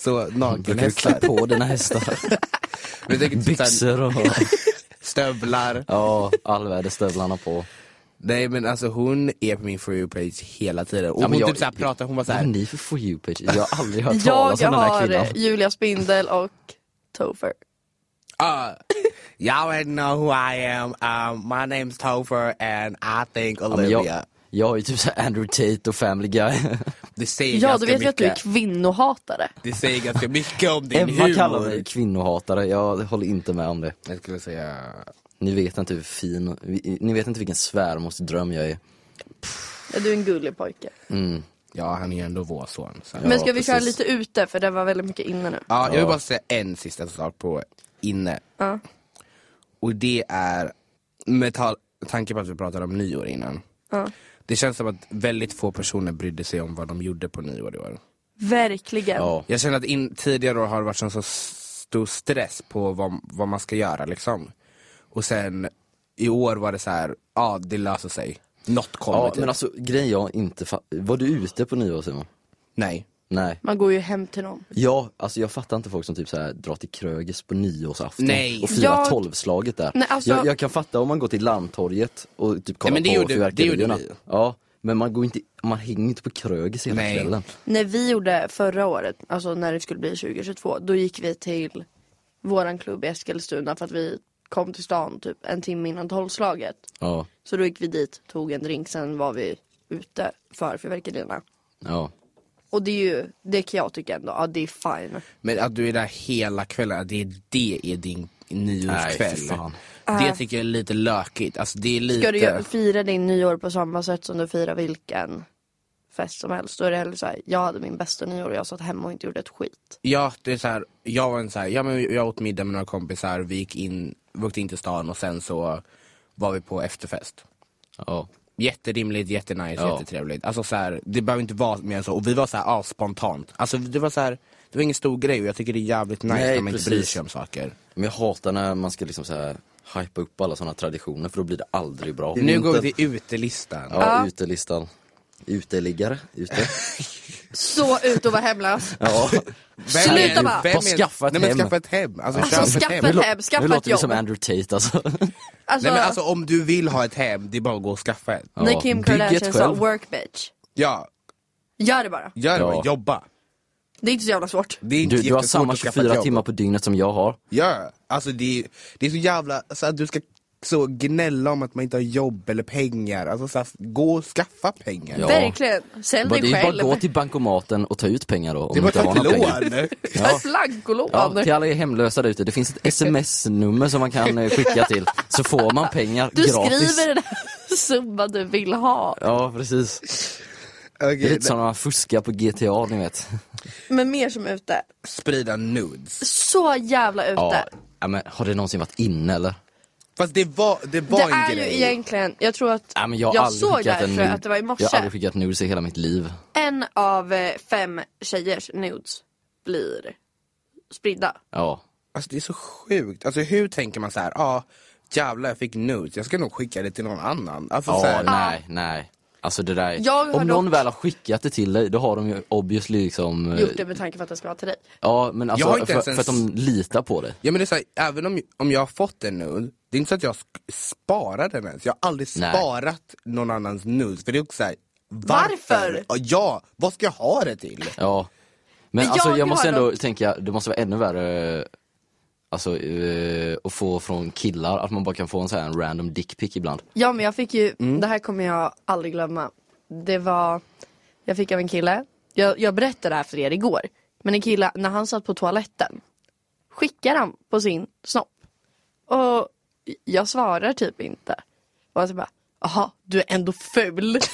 C: så
B: Brukar du klä
C: nakenhästar?
B: på dina hästar?
C: Men jag tänker typ så här,
B: Byxor och...
C: Stövlar.
B: Ja, allvädersstövlarna på.
C: Nej men alltså hon är på min For You-page hela tiden. Och
B: Ja, men
C: hon
B: jag-
C: typ så här pratar, hon var så
B: Vad är
C: här.
B: ni för for you page? Jag har aldrig hört
A: Jag
B: talas om den här
A: har
B: kvinnan.
A: eh, Julia Spindel och Topher.
C: Uh, y'all already know who I am. Um, my name's Topher and I think
B: Ja, men
C: Olivia.
B: jag, jag är ju typ såhär Andrew Tate och Family Guy.
C: Det säger
A: Ja, du
C: ganska
A: vet ju att
C: mycket.
A: du är kvinnohatare.
C: Det säger ganska mycket om din
B: Emma
C: humor.
B: kallar mig kvinnohatare, jag håller inte med om det.
C: Jag skulle säga...
B: Ni vet inte hur fin, och- vi- ni vet inte vilken svärmorsdröm jag är.
A: Ja, Du är en gullig pojke.
C: Ja, han är ju ändå vår son. Så.
A: Men ska vi
B: precis.
A: köra lite ute för det var väldigt mycket inne nu.
C: Ja, jag vill bara säga en sista sak på inne.
A: Ja.
C: Och det är, med tal- tanke på att vi pratade om nyår innan.
A: Ja.
C: Det känns som att väldigt få personer brydde sig om vad de gjorde på nyår i år.
A: Verkligen.
B: Ja,
C: Jag känner att in, tidigare år har det varit en så stor stress på vad, vad man ska göra liksom. Och sen i år var det så här, ja det löser sig. Något kommer
B: ja
C: typ.
B: men alltså grejen jag inte fa- Var du ute på nyår Simon?
C: Nej.
B: Nej.
A: Man går ju hem till någon.
B: Ja, alltså jag fattar inte folk som typ så här drar till Krögers på nyårsafton
C: Nej.
B: och firar
A: Jag-
B: tolvslaget där.
A: Nej, alltså-
B: jag, jag kan fatta om man går till Landtorget och typ kollar
C: men det
B: på
C: gjorde- det gjorde
B: fyrverkerierna.
C: vi.
B: Ja, men man går inte, man hänger inte på Krögers hela
C: Nej.
B: kvällen.
A: När vi gjorde förra året, alltså när det skulle bli 2022, då gick vi till våran klubb i Eskilstuna för att vi kom till stan typ en timme innan tolvslaget.
B: Ja,
A: Så då gick vi dit, tog en drink, sen var vi ute för fyrverkerierna.
B: ja.
A: Och det är ju, det kan jag tycka ändå, ja det är fine.
C: Men att du är där hela kvällen, att det är det är din
B: Nej,
C: nyårskväll.
B: fy fan.
C: Det tycker jag är lite lökigt. Alltså det är lite...
A: Ah. Ska du gö- fira din nyår på samma sätt som du firar vilken fest som helst, då är det hellre såhär, jag hade min bästa nyår och jag satt hemma och inte gjorde ett skit.
C: Ja, det är så här, jag var en så här, ja, men jag åt middag med några kompisar, vi gick in, vi åkte in till stan och sen så var vi på efterfest.
B: ja.
C: Jätterimligt, jättenice,
B: Ja.
C: jättetrevligt. Alltså så här, det behöver inte vara mer än så. Och vi var så här, ja, spontant. Alltså det var så här, det var ingen stor grej och jag tycker det är jävligt nice
B: Nej,
C: när man inte bryr
B: precis.
C: sig om saker.
B: Men jag hatar när man ska liksom så här hypa upp alla sådana traditioner för då blir det aldrig bra.
C: Nu
B: Inte-
C: går vi till utelistan.
B: Ja,
A: Ja.
B: utelistan. Uteliggare, ute.
A: Så ut och var hemlös!
B: Ja.
A: Sluta
C: är-
A: bara!
C: vem
B: Bara
C: är-
B: skaffa ett
C: nej, men
B: hem.
C: skaffa ett hem. Alltså,
A: Alltså,
C: köp
A: skaffa
C: ett hem.
A: ett
B: Nu,
A: hem, skaffa
B: nu
A: ett
B: låter vi
A: jobb.
B: som Andrew Tate alltså.
A: Alltså,
C: Nej men alltså om du vill ha ett hem, det är bara att gå och skaffa ett.
B: Ja.
A: när Kim
B: bygg ett
A: Kardashian sa
B: själv.
A: work bitch,
C: Ja,
A: gör det bara.
C: gör det
B: Ja.
C: bara. Jobba.
A: Det är inte så jävla svårt.
C: Det är inte
B: Du, du har
C: jättesvårt
B: samma
C: att skaffa ett
B: 24
C: jobb.
B: timmar på dygnet som jag har.
C: Ja, alltså det, är- det är så jävla, så att du ska så gnälla om att man inte har jobb eller pengar, alltså så här, gå och skaffa pengar.
B: Ja.
A: Verkligen, sälj
B: Bara, det
A: dig
B: är bara
A: själv.
B: att gå till bankomaten och ta ut pengar då. Om
C: Det är
B: du
C: bara att
B: inte
C: ta
B: har några
C: ett
B: pengar.
C: lån.
A: Ta ett blankolån.
B: Ja, till alla er hemlösa där ute, det finns ett sms-nummer som man kan eh, skicka till. Så får man pengar
A: du
B: gratis.
A: skriver den här summa du vill ha.
B: Ja, precis. Det är
C: Okej,
B: lite som när man fuskar på GTA, ni vet.
A: Men mer som ute.
C: Sprida nudes.
A: Så jävla ute.
B: Ja, ja, men har det någonsin varit inne eller?
C: Fast det var, det var
A: det
C: en
A: är
C: grej.
A: ju egentligen, jag tror att
B: Ja, men jag har
A: Jag
B: aldrig
A: såg
B: skickat en
A: därför
B: nude.
A: att det var i morse.
B: Jag har aldrig skickat nudes i hela mitt liv.
A: en av eh, fem tjejers nudes blir spridda.
B: Ja.
C: Alltså det är så sjukt, alltså hur tänker man så här, ja ah, jävlar jag fick nudes, jag ska nog skicka det till någon annan. Alltså
B: Ja,
C: så här,
B: nej, nej. Alltså det där,
A: Jag har
B: om någon
A: dock-
B: väl har skickat det till dig, då har de ju obviously liksom... eh,
A: Gjort det med tanke på att det ska vara till dig.
B: Ja, men alltså
C: Jag har inte
B: för,
C: ens
B: för att de litar på dig.
C: Ja men det är så här, även om, om jag har fått en nude, det är inte så att jag sk- sparar den ens. Jag har aldrig
B: Nej.
C: sparat någon annans nude. För det är också så här,
A: Varför?
C: Ja, vad ska jag ha det till?
B: Ja. Men,
A: Men
B: alltså
A: jag
B: jag måste
A: har
B: ändå tänka, det måste vara ännu värre eh, Alltså eh, att få från killar, att man bara kan få en sån här en random dickpic ibland.
A: Ja men jag fick ju,
B: Mm.
A: det här kommer jag aldrig glömma. Det var, jag fick av en kille, jag, jag berättade det här för er igår. Men en kille, när han satt på toaletten, skickar han på sin snopp. Och jag svarar typ inte. Och så bara, jaha, du är ändå ful.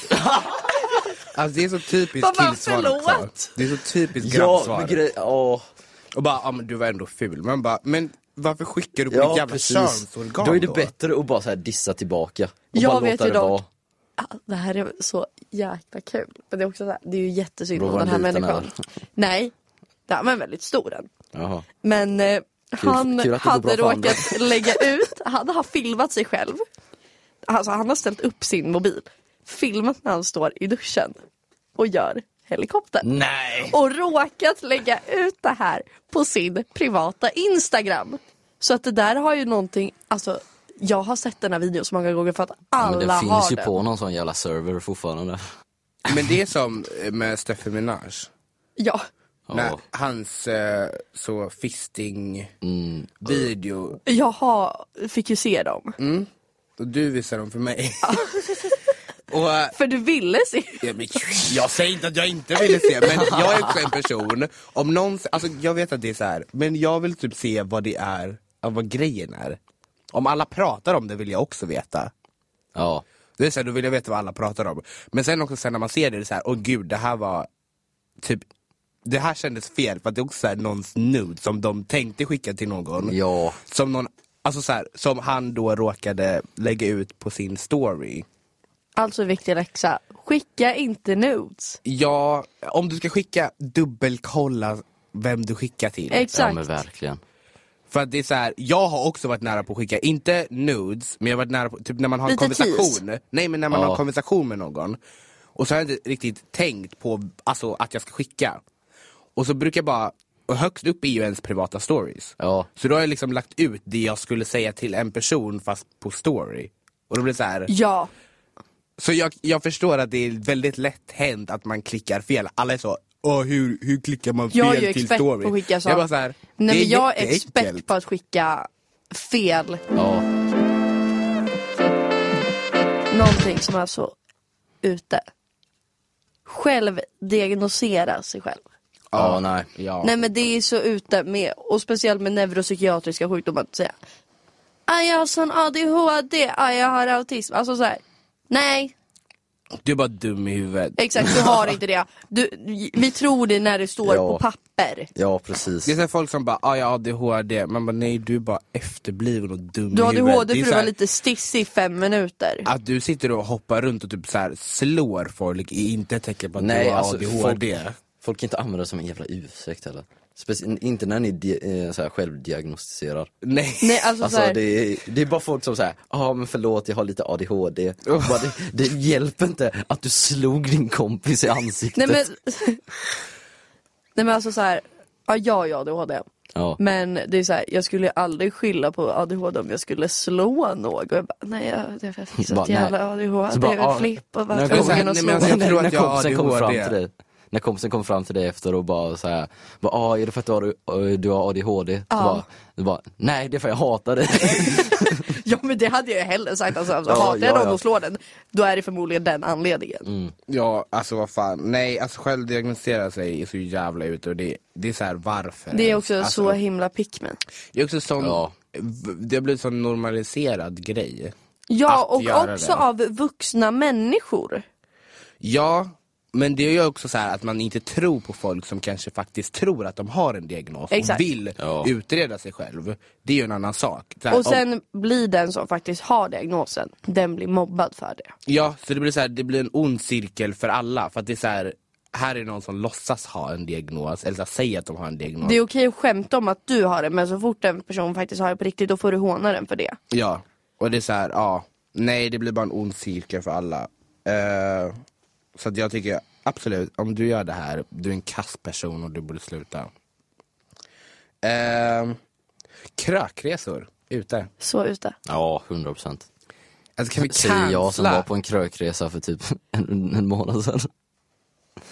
C: Alltså det är så
A: Vad
C: typiskt
A: fan,
C: killsvar
A: förlåt?
C: också. Det är så typiskt grabbsvar.
B: grej, åh.
C: Och bara, ja men du var ändå ful. Man bara, men varför skickar du på ditt
B: Ja
C: jävla
B: precis.
C: könsorgan
B: Då är det bättre att bara så här dissa tillbaka. Och
A: Jag
B: bara
A: vet
B: låta
A: ju
B: det
A: dock-
B: vara.
A: Ah, Det här är så jäkla kul. Men det är också så här, det är ju jättesynd
B: Vad
A: om
B: var
A: den här
B: liten
A: människan. Nej, han var en väldigt stor den.
B: Jaha.
A: Men eh, han
B: kul att det går bra
A: hade
B: för
A: råkat lägga ut, han har filmat sig själv. Alltså han har ställt upp sin mobil, filmat när han står i duschen och gör helikoptern.
C: Nej!
A: Och råkat lägga ut det här på sin privata Instagram. Så att det där har ju någonting, alltså jag har sett den här videon så många gånger för att alla
B: Men den finns
A: har
B: ju
A: den.
B: på någon sån jävla server fortfarande.
C: Men det är som eh, med Steffi Minaj.
A: Ja.
C: När
B: Ja.
C: hans eh, så fisting
B: Mm.
C: video,
A: Jaha, fick ju se dem.
B: Mm.
C: och du visar dem för mig. och, eh,
A: För du ville se.
C: Ja, men jag säger inte att jag inte ville se, men jag är också en person, om någon, alltså jag vet att det är så här, men jag vill typ se vad det är, ja, vad grejen är. Om alla pratar om det vill jag också veta.
B: Ja.
C: Det är så här, då vill jag veta vad alla pratar om. Men sen också sen när man ser det, det är så här, åh gud det här var typ det här kändes fel för att det är också så här någons nude som de tänkte skicka till någon.
B: Ja.
C: Som, någon, alltså så här, som han då råkade lägga ut på sin story.
A: Alltså viktig läxa, skicka inte nudes.
C: Ja, om du ska skicka, dubbelkolla vem du skickar till.
B: ja,
A: Exakt.
B: men verkligen.
C: För att det är så här, jag har också varit nära på att skicka, inte nudes, men jag har varit nära på, typ när man har en
A: Lite
C: konversation. Nej men när man
B: Ja.
C: har en konversation med någon. Och så har jag inte riktigt tänkt på alltså, att jag ska skicka. Och så brukar jag bara, och högst upp är ju ens privata stories.
B: Ja.
C: Så då har jag liksom lagt ut det jag skulle säga till en person fast på story. Och då blir det så här,
A: Ja,
C: så jag, jag förstår att det är väldigt lätt hänt att man klickar fel. Alla är så, Åh, hur, hur klickar man fel
A: jag är ju
C: till
A: expert
C: story?
A: på att skicka
C: Jag
A: saker.
C: bara så här,
A: Nej
C: det är
A: men jag är
C: jätteenkelt.
A: expert på att skicka fel,
B: Ja.
A: någonting som är så ute. Själv diagnosera sig själv.
B: Ja, nej.
C: Ja.
A: Nej men det är så ute med, och speciellt med neuropsykiatriska sjukdomar, att säga "Ah, jag har sån ADHD, ah, jag har autism, alltså så här. Nej,
C: Du är bara dum i huvudet.
A: exakt du har inte det. Du, vi tror det när det står
B: Ja.
A: på papper.
B: Ja, precis.
C: Det är så här folk som bara, ah, jag har ADHD, man bara nej du är bara efterbliven och dum
A: Du har
C: i huvudet.
A: ADHD
C: Det är
A: för du
C: så
A: var
C: här,
A: lite stissig i fem minuter.
C: Att du sitter och hoppar runt och typ så här slår folk är inte ett tecken på att
B: Nej,
C: du har
B: alltså,
C: ADHD.
B: Folk kan inte använda det som en jävla ursäkt heller. Speci- inte när ni di- eh, så här, självdiagnostiserar.
C: Nej.
A: Nej alltså,
B: Alltså
A: så här,
B: det, är, det är bara folk som säger ja men förlåt jag har lite ADHD. Bara, det, det hjälper inte att du slog din kompis i ansiktet.
A: Nej men, nej men alltså så här, ja jag har ju ADHD.
B: ja.
A: Men det är så här, jag skulle ju aldrig skylla på ADHD om jag skulle slå någon. Jag bara, nej jag, det är för
B: Bara,
A: ett
B: nej.
A: jävla ADHD,
B: Så bara,
A: bara,
B: ja,
A: flipp och
B: när
A: bara
B: jag kommer-
A: tvungen att
C: Nej,
A: slå.
C: men alltså, jag
B: när,
C: tror
B: när
C: att jag har
B: kompisen kommer fram
C: ADHD.
B: till dig. När kompisen kommer fram till dig efter och bara så här, bara, ah, är det för att du har, eh, du har ADHD? Så
A: Ja.
B: bara, du bara, nej det är för att jag hatar dig.
A: Ja men det hade jag ju hellre sagt. Alltså, alltså,
B: Ja,
A: hatar jag
B: ja,
A: någon
B: ja. Mm.
A: och slår den, då är det förmodligen den anledningen.
C: Ja, alltså vad fan. Nej, alltså självdiagnostisera sig är så jävla ute och det, det är så här varför?
A: Det är
C: ens?
A: också
C: alltså,
A: så himla pick me.
C: Det är också sån,
B: Ja.
C: v- det har blivit sån normaliserad grej.
A: Ja
C: Att göra
A: och också
C: det.
A: av vuxna människor.
C: Ja, men det är ju också så här att man inte tror på folk som kanske faktiskt tror att de har en diagnos
A: Exakt.
C: och vill
B: Ja.
C: utreda sig själv. Det är ju en annan sak. Så här,
A: Och
C: om,
A: sen blir den som faktiskt har diagnosen, den blir mobbad för det.
C: ja, så det blir, så här, det blir en ond cirkel för alla. För att det är så här, här är någon som låtsas ha en diagnos, eller så här, säger att de har en diagnos.
A: Det är okej att skämta om att du har det men så fort en person faktiskt har det på riktigt då får du håna den för det.
C: Ja, och det är så här, ja. Nej, det blir bara en ond cirkel för alla. Eh, så att jag tycker absolut, om du gör det här, du är en kass person och du borde sluta. Uh, krökresor ute.
A: Så ute.
B: ja, 100 procent.
C: Alltså kan vi
B: Säger jag som var
C: cancella?
B: på en krökresa för typ en, en månad sedan.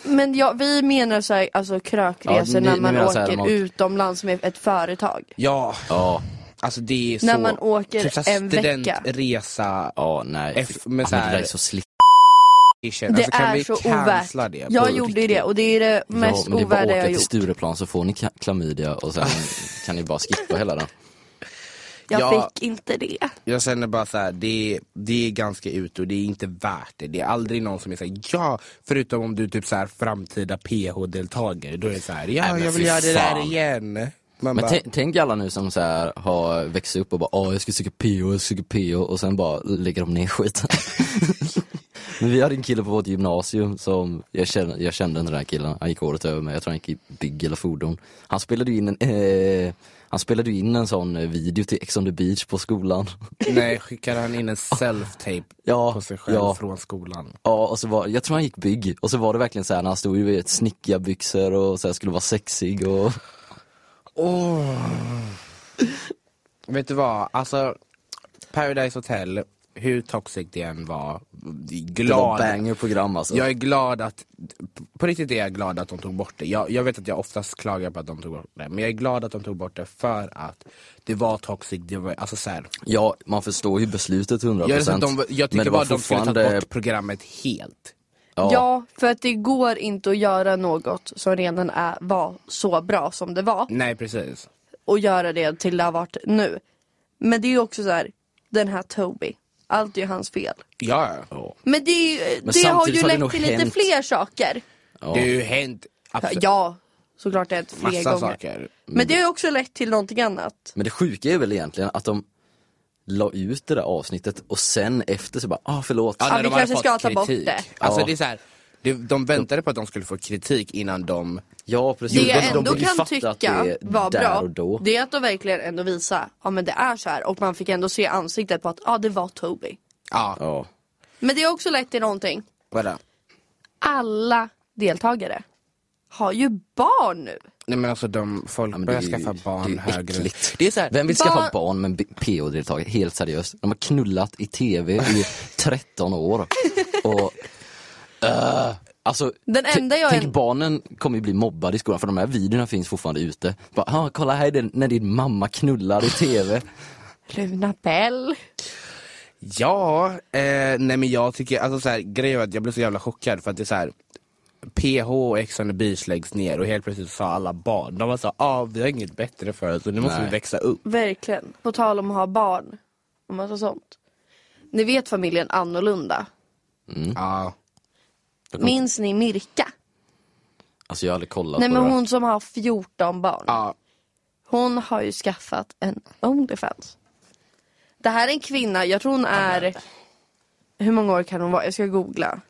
A: Men ja, vi menar så här, alltså krökresor
B: Ja, ni-
A: när
B: ni
A: man
B: menar
A: åker
B: så här, man-
A: utomlands med ett företag.
C: Ja,
B: Ja,
C: alltså det är så.
A: När man åker
C: typ så här
A: en vecka.
C: studentresa.
B: ja nej.
C: F- men
B: ja,
C: så
B: men
C: här-
B: det där är så slick.
C: Det
A: Det
C: alltså, kan
A: är
C: vi
A: så ovärt.
C: cancella det
A: jag
C: på
A: gjorde ju
C: riktigt?
A: det och det är det mest
B: ja, men det är bara att
A: ovärdiga
B: åka
A: jag
B: till
A: gjort.
B: Stureplan så får ni ka- klamydia och sen kan ni bara skippa hela den.
A: Jag
C: Ja.
A: fick inte det.
C: Jag känner bara så här, det, det är ganska ut och det är inte värt det. Det är aldrig någon som är såhär, ja, förutom om du är typ så här framtida PH-deltagare. Då är det såhär, ja
B: Nej, men
C: jag vill
B: fy
C: göra det
B: fan.
C: där igen. Man
B: Men
C: bara,
B: tänk- tänk alla nu som så här har växt upp och bara åh jag ska söka PO, jag ska söka PO och sen bara lägger de ner skiten. Men vi hade en kille på vårt gymnasium som, jag kände, jag kände den där killen, han gick året över mig, jag tror han gick i bygg eller fordon. Han spelade ju in en, eh, han spelade ju in en sån eh, video till Ex on the beach på skolan.
C: nej, skickar han in en self-tape
B: Ah. Ja,
C: på sig själv
B: ja.
C: från skolan?
B: Ja, och så var, jag tror han gick bygg, och så var det verkligen så här när han stod i ett snickarbyxor och så här skulle vara sexig och
C: Åh. Vet du vad, alltså Paradise Hotel, hur toxic det än var,
B: det var
C: glad
B: banger-program alltså.
C: Jag är glad att, på riktigt är jag glad att de tog bort det. Jag, jag vet att jag oftast klagar på att de tog bort det, men jag är glad att de tog bort det för att det var toxic, det var, alltså så här,
B: Ja, man förstår ju beslutet 100%
C: jag, vet att de, jag
B: men
C: tycker
B: det
C: bara
B: var
C: att de skulle ta
B: fortfarande-
C: bort programmet helt.
A: Ja.
B: Ja.
A: för att det går inte att göra något som redan är, var så bra som det var
B: Mm.
C: Nej precis.
A: och göra det till det har varit nu. Men det är ju också så här, den här Toby, allt är ju hans fel.
C: Ja, ja.
A: Men det, är ju-
B: Men
A: det har ju
B: samtidigt har det
A: lett
B: nog
A: till lite
B: hänt.
A: fler saker.
C: det har ju hänt absolut,
A: Ja, såklart det har hänt fler
C: massa
A: gånger.
C: saker.
A: Men det har ju också lett till någonting annat.
B: Men det sjuka är väl egentligen att de la ut det där avsnittet och sen efter så bara, ah förlåt.
A: Ja,
C: när
A: vi
C: de hade
A: kanske ska
C: fått
A: ta bort
C: kritik.
A: det.
C: Alltså
B: Ja.
C: det är så här, det, de väntade på att de skulle få kritik innan de
B: Ja precis.
A: Det jag
B: de
A: ändå
B: borde ju
A: kan
B: fatta att det
A: tycka
B: är
A: var
B: där
A: bra,
B: och då.
A: det är att de verkligen ändå visar, ja men det är så här. Och man fick ändå se ansiktet på att, ja det var Toby.
C: Ja,
B: Ja.
A: Men det har också lett till någonting.
C: vadå?
A: alla deltagare har ju barn nu.
C: Nej men alltså de, folk
B: men det
C: börjar
B: är ju-
C: skaffa barn
B: det är ju
C: högre.
B: äckligt.
C: Det är så här,
B: Vem vill skaffa
A: Bara-
B: barn med en PO-deltagare? Helt seriöst. De har knullat i TV i 13 år. Och, Äh, alltså,
A: Den
B: t-
A: enda jag-
B: tänk barnen kommer ju bli mobbade i skolan för de här videorna finns fortfarande ute. Bara, ah, kolla här är den när din mamma knullar i TV.
A: Luna Bell.
C: Ja, eh, nej men jag tycker, alltså så här, grejen var att jag blev så jävla chockad för att det är så här PH och Ex on the beach läggs ner och helt plötsligt sa alla barn, de var så ja ah, vi har inget bättre för oss och nu måste
B: Nej.
C: vi växa upp.
A: Verkligen. På tal om att ha barn och massa sånt. Ni vet familjen Annorlunda.
B: Mm.
C: Ja.
A: Minns ni Mirka?
B: Alltså jag har aldrig kollat
A: Nej
B: på
A: men
B: det där.
A: hon som har 14 barn.
C: Ja.
A: Hon har ju skaffat en Onlyfans. Det här är en kvinna, jag tror hon är... Hur många år kan hon vara? Jag ska googla.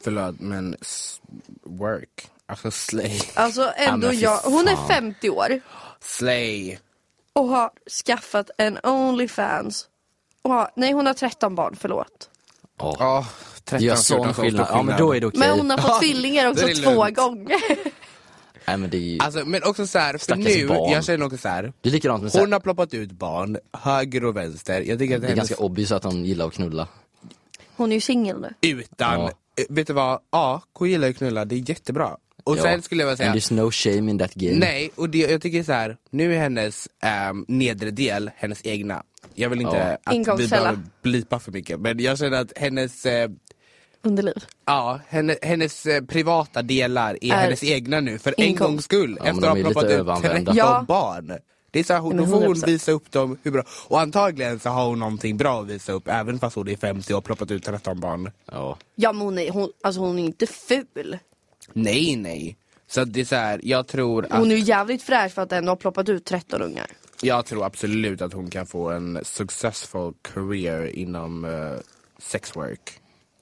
C: förlåt men s- work, alltså slay.
A: Alltså ändå
C: men fy
A: jag, hon är
B: fan.
A: 50 år.
C: Slay.
A: och har skaffat en Onlyfans. Och har, nej hon har 13 barn, förlåt.
B: Ja.
C: Ja,
B: Det
C: 13,
B: gör
C: 14,
B: sån
C: 14
B: skillnad. Ja men då är det okej.
A: Men hon har fått
C: Ja,
A: tvillingar också
C: det är
A: två
C: lugnt.
A: gånger.
B: Nej men det är ju...
C: Alltså men också så här, för
B: Stackars
C: nu,
B: barn.
C: jag känner också så här.
B: Det är likadant med
C: Hon
B: såhär,
C: har ploppat ut barn, höger och vänster. Jag tycker att
B: det är
C: hennes-
B: ganska obvious att hon gillar att knulla.
A: Hon är ju singel nu.
C: utan,
B: Ja.
C: eh, vet du vad, ja, K gillar ju att knulla, det är jättebra. Och
B: Ja.
C: sen skulle jag vilja
B: And
C: säga,
B: there's no shame in that game.
C: nej, och det, jag tycker så här, nu är hennes ehm, nedre del hennes egna. Jag vill inte
B: Ja.
C: att vi
A: Ingångskälla.
C: behöver blipa för mycket, men jag känner att hennes, eh,
A: Underliv.
C: ja, henne, hennes eh, privata delar är,
A: Är
C: hennes egna nu, för en
A: ingångs-
C: gångs skull,
B: men
C: efter
B: de
C: att
B: är
C: ha
B: lite
C: ploppat ut
B: överanvända.
C: 13
A: Ja.
C: barn. Det är så här, hon,
A: Men
C: då får hon
A: 100%.
C: visa upp dem hur bra, och antagligen så har hon någonting bra att visa upp, även fast hon är 50 och har ploppat ut 13 barn.
B: Ja.
A: Ja men hon är, hon, alltså hon är inte ful.
C: Nej, nej. Så att det är så här, jag tror att,
A: Hon är ju jävligt fräsch för att ändå ha ploppat ut 13 ungar.
C: jag tror absolut att hon kan få en successful career inom eh, sexwork.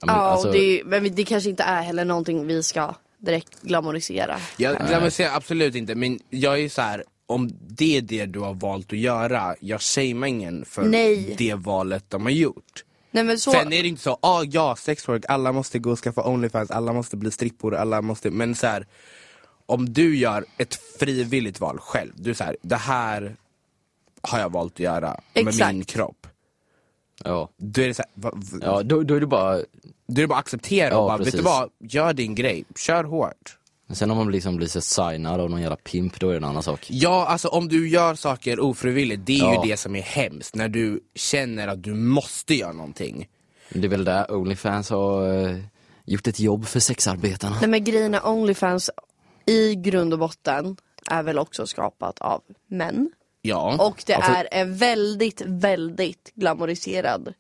B: Ja, men
A: Ja,
B: alltså,
A: och det, är- men det kanske inte är heller någonting vi ska direkt glamorisera.
C: Jag, jag vill säga absolut inte, men jag är så här, om det är det du har valt att göra, jag shamear ingen för
A: Nej.
C: det valet de har gjort.
A: Nej men så,
C: Sen är det inte så, ah, ja sexwork, alla måste gå och skaffa Onlyfans, alla måste bli strippor, alla måste, men så här, om du gör ett frivilligt val själv, du är så här, det här har jag valt att göra med
A: Exakt.
C: min kropp.
B: ja.
C: Då är det, så här, va, va,
B: ja då, då är det bara,
C: då är det bara att acceptera
B: Ja,
C: och bara, vet
B: precis.
C: du vad, gör din grej, kör hårt.
B: sen om man liksom blir så signad av någon jävla pimp, då är det en annan sak.
C: Ja, alltså om du gör saker ofrivilligt, det är
B: Ja.
C: ju det som är hemskt, när du känner att du måste göra någonting.
B: Det är väl där Onlyfans har eh, gjort ett jobb för sexarbetarna.
A: nej men grejen är Onlyfans i grund och botten är väl också skapat av män.
C: Ja.
A: Och det
C: Alltså,
A: är en väldigt, väldigt glamoriserad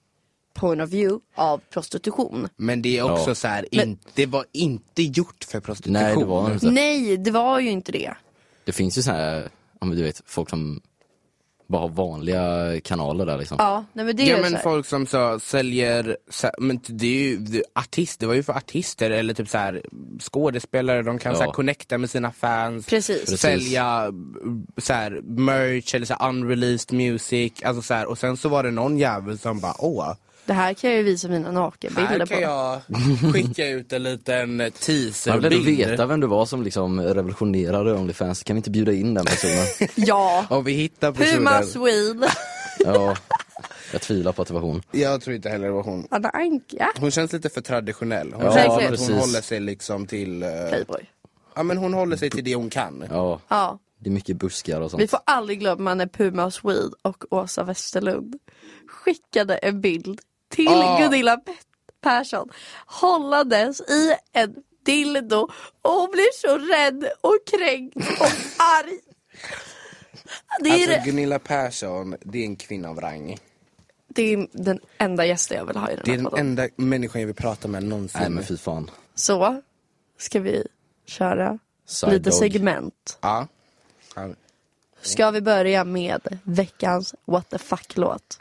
A: point of view av prostitution.
C: Men det är också
B: Ja.
C: så här,
A: Men-
C: in, det var inte gjort för prostitution.
B: Nej det var inte.
A: Nej, det var ju inte det.
B: Det finns ju så här, ja men du vet, folk som bara har vanliga kanaler där liksom.
A: Ja, nej men det är
C: Ja
A: ju
C: men
A: så här.
C: folk som så säljer, så, men det är ju det, artist, det var ju för artister eller typ så här skådespelare, de kan
B: Ja.
C: så här connecta med sina fans,
A: Precis.
C: sälja mm, så här, merch eller så här, unreleased music, alltså så här, och sen så var det någon jävel som bara åh,
A: Det här kan jag ju visa mina
C: här
A: nakenbilder på.
C: kan jag skicka ut en liten
B: Man vill ändå
C: teaserbild.
B: veta vem det var som liksom revolutionerade Onlyfans, kan vi inte bjuda in den personen?
A: Ja,
C: Om vi hittar
A: Puma
C: personen.
A: Swede.
B: ja, jag tvivlar på att det var hon.
C: Jag tror inte heller det var hon.
A: Anna Anka.
C: Hon känns lite för traditionell. Hon
B: Ja,
C: känns som att
B: precis.
C: hon håller sig liksom till, eh,
A: Playboy.
C: ja men hon håller sig till det hon kan.
B: Ja,
A: Ja,
B: det är mycket buskar och
A: vi
B: sånt.
A: får aldrig glömma när Puma Swede och Åsa Westerlund skickade en bild till
C: Ah.
A: Gunilla Pe- Persson hållandes i en dildo och hon blir så rädd och kränkt och arg. Det är,
C: Alltså Gunilla Persson, det är en kvinna av rang.
A: det är den enda gästen jag vill ha i
C: Det
A: den här
C: är den
A: podden.
C: enda människan jag vill prata med någonsin.
B: Nej men fy fan.
A: Så ska vi köra
B: Side
A: lite
B: dog.
A: segment.
C: ja. Ja.
A: Ska vi börja med veckans what the fuck-låt?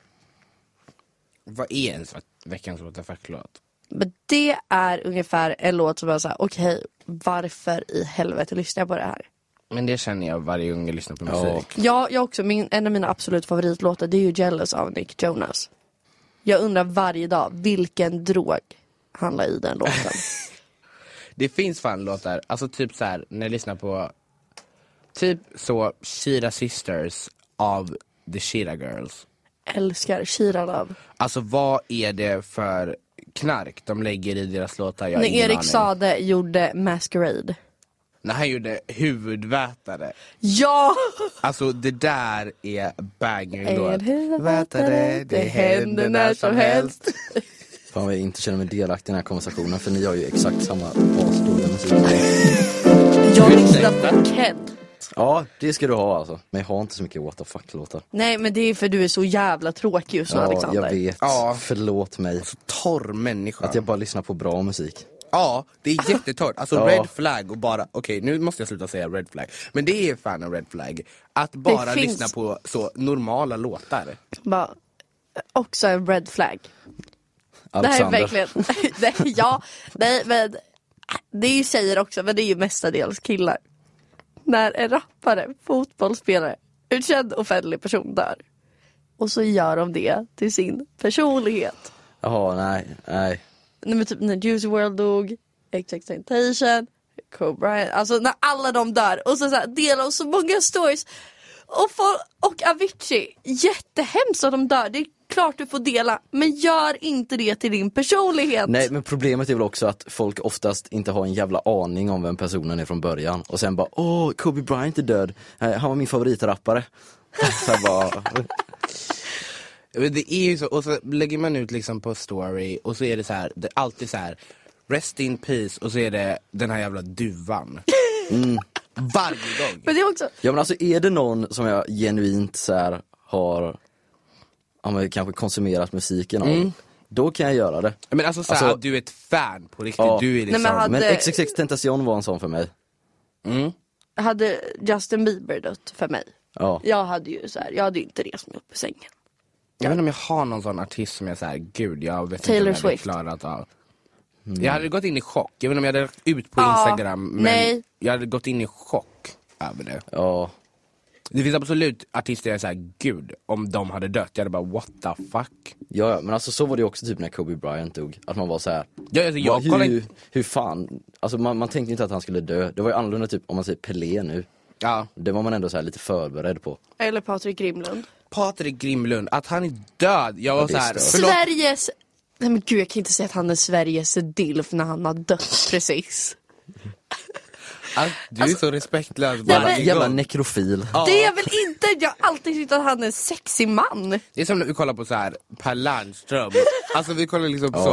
C: Vad är ens veckans what the fuck-låt?
A: Men det är ungefär en låt som är såhär, okej, varför i helvete lyssnar jag på det här?
C: Men det känner jag varje gång jag lyssnar på
B: Ja.
C: musik.
A: Jag, jag också, min, en av mina absolut favoritlåtar det är ju Jealous av Nick Jonas. Jag undrar varje dag, vilken drog handlar i den låten?
C: Det finns fan låtar, alltså typ så här när jag lyssnar på typ så Shira Sisters av The Shira Girls.
A: Älskar Shira Love.
C: Alltså vad är det för knark de lägger i deras låtar? Jag har
A: När
C: ingen
A: Erik
C: aning.
A: Sade gjorde Masquerade.
C: När han gjorde huvudvätare.
A: Ja!
C: Alltså det där är banger
A: En
C: låt.
A: huvudvätare, det händer när som helst.
B: Fan vad jag inte känner mig delaktig i den här konversationen för ni har ju exakt samma asdåliga musik.
A: Jag lyssnar på Kent.
B: Ja, det ska du ha alltså. Men jag har inte så mycket what the fuck-låtar.
A: Nej men det är för du är så jävla tråkig just nu
B: Ja,
A: Alexander.
B: jag vet.
C: Ja.
B: Förlåt mig.
C: Torr människa.
B: Att jag bara lyssnar på bra musik.
C: Ja, det är jättetort. Alltså
B: Ja.
C: red flag och bara, okej nu måste jag sluta säga red flag. Men det är fan en red flag. Att bara
A: finns-
C: lyssna på så normala låtar.
A: Bara, också en red flag. Det här är
B: Alexander.
A: verkligen, nej, ja, nej men det är ju tjejer också men det är ju mestadels killar. När en rappare, fotbollsspelare, en känd offentlig person dör. Och så gör de det till sin personlighet.
B: Jaha, nej, nej.
A: Nej men typ när Juicy World dog, Temptation, Kobe Bryant, alltså när alla de dör och så, så här, delar de så många stories. Och, folk, och Avicii, jättehemskt att de dör, det är klart du får dela men gör inte det till din personlighet.
B: Nej men problemet är väl också att folk oftast inte har en jävla aning om vem personen är från början och sen bara åh Kobe Bryant är död, Eh, han var min favoritrappare. Så jag bara,
C: Men Det är ju så, och så lägger man ut liksom på story och så är det så här, det är alltid så här rest in peace och så är det den här jävla duvan.
B: Mm.
C: Varje gång.
A: Men det är också,
B: ja men alltså är det någon som jag genuint så här har, ja men kanske konsumerat musiken av, då kan jag göra det.
C: Men alltså, så här,
B: Alltså-
C: att du är ett fan på riktigt,
B: Ja.
C: du är liksom...
A: men hade-
B: Men XXX Tentacion var en sån för mig.
A: hade Justin Bieber dött för mig,
B: Ja.
A: jag hade ju så här, jag hade ju inte rest mig upp ur sängen.
C: Jag vet inte om jag har någon sån artist som jag säger, gud jag vet
A: Taylor
C: inte om jag hade
A: Swift.
C: klarat av. Jag hade gått in i chock, jag vet inte om jag hade lagt ut på
A: Ja,
C: Instagram men
A: nej.
C: jag hade gått in i chock över det.
B: Ja,
C: Det finns absolut artister jag säger, gud om de hade dött, jag hade bara what the fuck.
B: ja, ja. men alltså så var det ju också typ när Kobe Bryant dog, att man var så här.
C: Jag, alltså, jag,
B: Vad-
C: kollar
B: hur,
C: inte-
B: hur fan, alltså man, man tänkte inte att han skulle dö. Det var ju annorlunda typ om man säger Pelé nu.
C: ja.
B: Det var man ändå så här lite förberedd på.
A: Eller Patrik Grimlund.
C: Patrik Grimlund, att han är död, jag var
B: det
C: så
B: är
C: här,
B: stört.
C: förlåt.
A: Sveriges, nej men gud jag kan inte säga att han är Sveriges DILF när han har dött precis.
C: Alltså, du är så respektlös
A: Ja,
C: bara.
A: men-
B: Jävla nekrofil.
A: Det är väl inte, jag har alltid tyckt att han är en sexig man.
C: Det är som när vi kollar på så här Per Lernström, alltså vi kollar liksom på så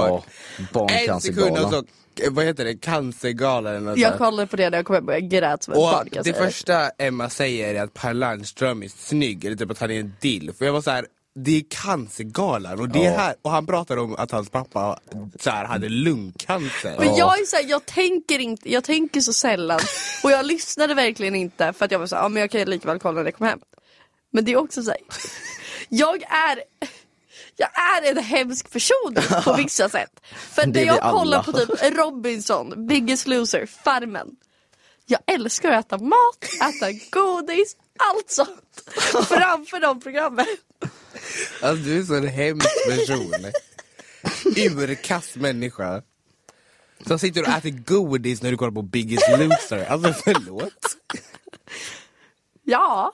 B: Ja,
C: en sekund och
B: barncancergalan.
C: så vad heter det, cancergala eller något
A: Jag
C: sånt.
A: kollade på det när jag kom hem och jag grät som ett
C: Och
A: barn kan jag
C: det
A: säga dig.
C: första Emma säger är att Per Landström är snygg, eller typ att han är en dill. För jag var så här. Det är cancergalan och, det
B: Ja.
C: här, och han pratar om att hans pappa så här, hade lungcancer.
A: Men jag är så här, jag tänker inte, jag tänker så sällan och jag lyssnade verkligen inte för att jag var så här, ja men jag kan ju lika väl kolla när det kommer hem. Men det är också så här, jag är jag är en hemsk person på vissa sätt. För
B: Det
A: när
B: är vi
A: jag
B: alla.
A: kollar på typ Robinson, Biggest Loser, Farmen. Jag älskar att äta mat, äta godis, allt sånt. Framför de programmen.
C: Alltså du är så en hemsk person. Urkass människa. Som sitter och äter godis när du kollar på Biggest Loser. Alltså förlåt.
A: Ja,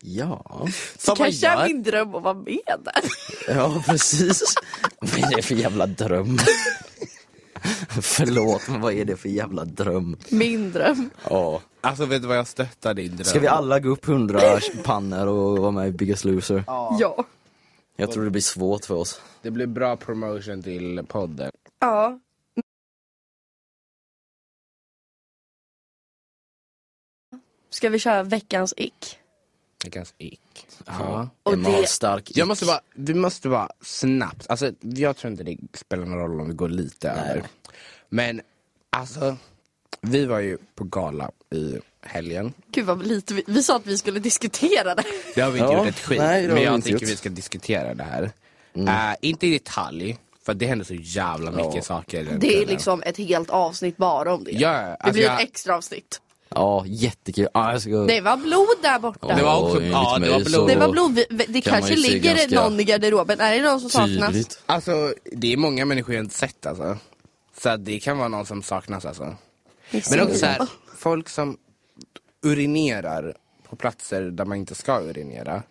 B: Ja,
C: Som man
A: kanske är
C: gör.
A: min dröm att vara med där.
B: ja precis. vad är det för jävla dröm? Förlåt, men vad är det för jävla dröm?
A: Min dröm.
B: Ja.
C: Alltså vet du vad jag stöttar din dröm?
B: Ska vi alla gå upp 100 pannor och vara med i Biggest Loser?
A: Ja.
B: Jag tror det blir svårt för oss.
C: Det blir bra promotion till podden.
A: Ja. Ska vi köra veckans ick?
C: Det kanske gick. Ja.
A: Och
B: Emma har
A: det-
B: stark
C: Jag måste bara, vi måste bara snabbt, alltså jag tror inte det spelar någon roll om vi går lite över. Men alltså, vi var ju på gala i helgen.
A: Gud vad lite vi, vi sa att vi skulle diskutera det.
C: Det har vi inte
B: Ja,
C: gjort ett skit,
B: nej, det har
C: men
B: vi
C: jag
B: inte
C: tycker
B: gjort. Mm.
C: vi ska diskutera det här. Eh, inte i detalj, för det händer så jävla mycket saker. den
A: Det är
C: kvällen.
A: liksom ett helt avsnitt bara om det.
C: Ja,
A: det
C: alltså
A: blir
C: jag-
A: ett extra avsnitt.
B: Ja, jättekul. Ja, jag ska...
A: Det var blod där borta.
C: Det var också-
B: enligt
C: ja, det var
B: mig
C: blod.
B: så-
A: Det var blod. Vi- vi- Det
B: Kan
A: kanske
B: man ju se
A: ligger
B: ganska
A: någon i garderoben. Är det någon som saknas?
B: Tydligt.
C: Alltså, det är många människor jag inte sett alltså. Så att det kan vara någon som saknas alltså. Men också så här, folk som urinerar på platser där man inte ska urinera.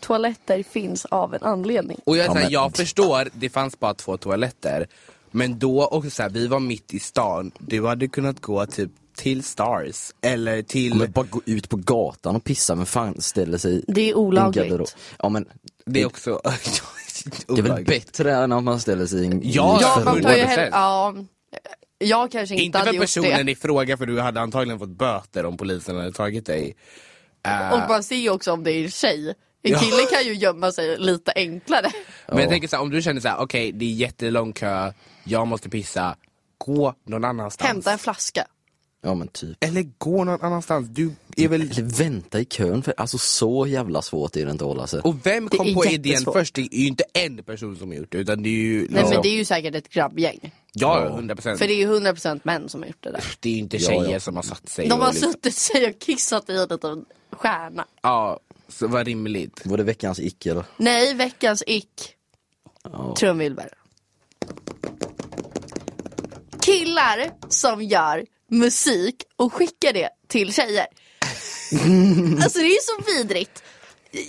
A: Toaletter finns av en anledning.
C: Och jag, är
B: Ja,
C: så här,
B: men-
C: jag förstår, det fanns bara två toaletter. Men då också så här, vi var mitt i stan. Du hade kunnat gå typ till Stars eller till...
B: Men bara gå ut på gatan och pissa, men fan ställer sig i
A: Det är
B: en garderob.
A: olagligt.
B: Ja men,
C: Det är också...
B: det är väl bättre än att man ställer sig i en i
C: Ja,
B: en
A: Ja,
C: för
A: man
B: garderob.
A: tar ju
C: hundra
A: hell-
C: procent.
A: ja, jag kanske inte,
C: Inte
A: hade
C: för
A: gjort det.
C: personen i fråga för du hade antagligen fått böter om polisen hade tagit dig. Eh,
A: Och man ser ju också om det är en tjej. En
C: Ja.
A: kille kan ju gömma sig lite enklare.
C: Men jag tänker så här, om du känner så här, okej det är jättelång kö, jag måste pissa, gå någon annanstans.
A: Hämta en flaska.
B: Ja men typ.
C: Eller gå någon annanstans, du är väl...
B: Eller vänta i kön, för alltså så jävla svårt är det inte att hålla sig.
C: Och vem
A: Det
C: kom
A: är
C: på idén
A: jättesvårt.
C: först? Det är ju inte en person som har gjort det utan det är ju...
A: Nej
C: liksom-
A: men det är ju säkert ett grabbgäng.
C: Ja, 100 procent.
A: För det är ju 100% män som har gjort det där.
C: Det är ju inte
B: Ja,
C: tjejer
B: ja.
C: som har satt sig
A: De
C: och
A: har
C: liksom-
A: suttit sig och kissat i en liten stjärna.
C: Ja, så vad rimligt.
B: Var det veckans icke eller?
A: Nej, veckans ick.
B: Ja.
A: Trumvirvel. Killar som gör musik och skickar det till tjejer. Alltså det är så vidrigt.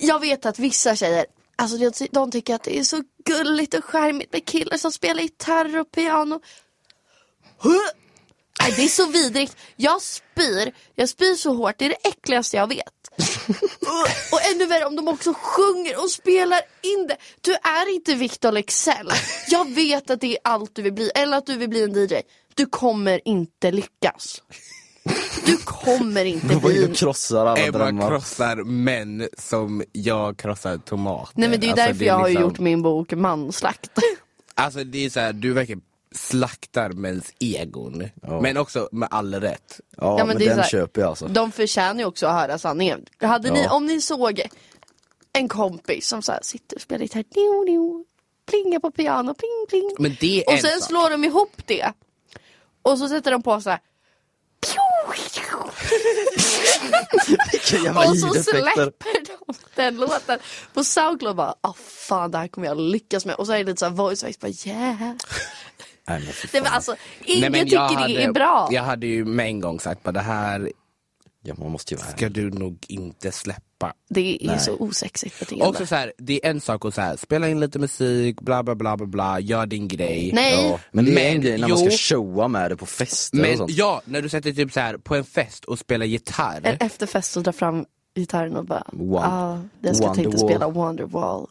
A: Jag vet att vissa tjejer, alltså de- de tycker att det är så gulligt och charmigt med killar som spelar gitarr och piano. Huh! Nej, det är så vidrigt. Jag spyr. Jag spyr så hårt. Det är det äckligaste jag vet. Och ännu värre om de också sjunger och spelar in det. Du är inte Victor Leksell. Jag vet att det är allt du vill bli, eller att du vill bli en DJ. Du kommer inte lyckas. Du kommer inte
B: Det var ju
A: bli...
B: du krossar alla
C: Emma
B: drömmar.
C: krossar män som jag krossar tomater.
A: Nej men det är ju
C: Alltså,
A: därför jag har ju
C: liksom-
A: gjort min bok Manslakt.
C: Alltså det är så här, du verkligen slaktar mäns egon.
B: Ja.
C: Men också med all rätt.
B: ja,
A: Ja, men
B: men,
A: det är
B: den
A: så här-
B: köper jag alltså.
A: De förtjänar ju också att höra sanningen. Hade ni,
B: Ja.
A: om ni såg en kompis som så här sitter och spelar gitarr, nio, nio, plingar på piano, pling pling.
C: Men det är
A: Och
C: en
A: sen
C: sak.
A: slår de ihop det. Och så sätter de på så här.
B: Vilka jävla
A: Och så
B: ljudeffekter.
A: släpper de den låten på Soundcloud bara, ah fan det här kommer jag lyckas med. Och så är det lite såhär voice voice, bara yeah.
B: Nej, men fy
A: Det,
B: fan.
A: var alltså, ingen
C: men
A: tycker
C: jag
A: det är
C: hade-
A: bra.
C: Jag hade ju med en gång sagt att det här
B: Ja, man måste ju vara
C: ska du nog inte släppa.
A: Det är så osexigt beteende.
C: Också så här, det är en sak att så här, spela in lite musik, bla bla bla bla bla, gör din grej.
A: Nej.
B: Ja, men det är en
C: Men,
B: grej när man ska
C: jo.
B: showa med det på fester och
C: Men
B: sånt.
C: ja, när du sätter typ så här på en fest och spelar gitarr.
A: En efterfest och dra fram gitarren och bara,
B: Wonder-
A: ah, jag ska tänkte
B: Wonderwall.
A: spela Wonderwall.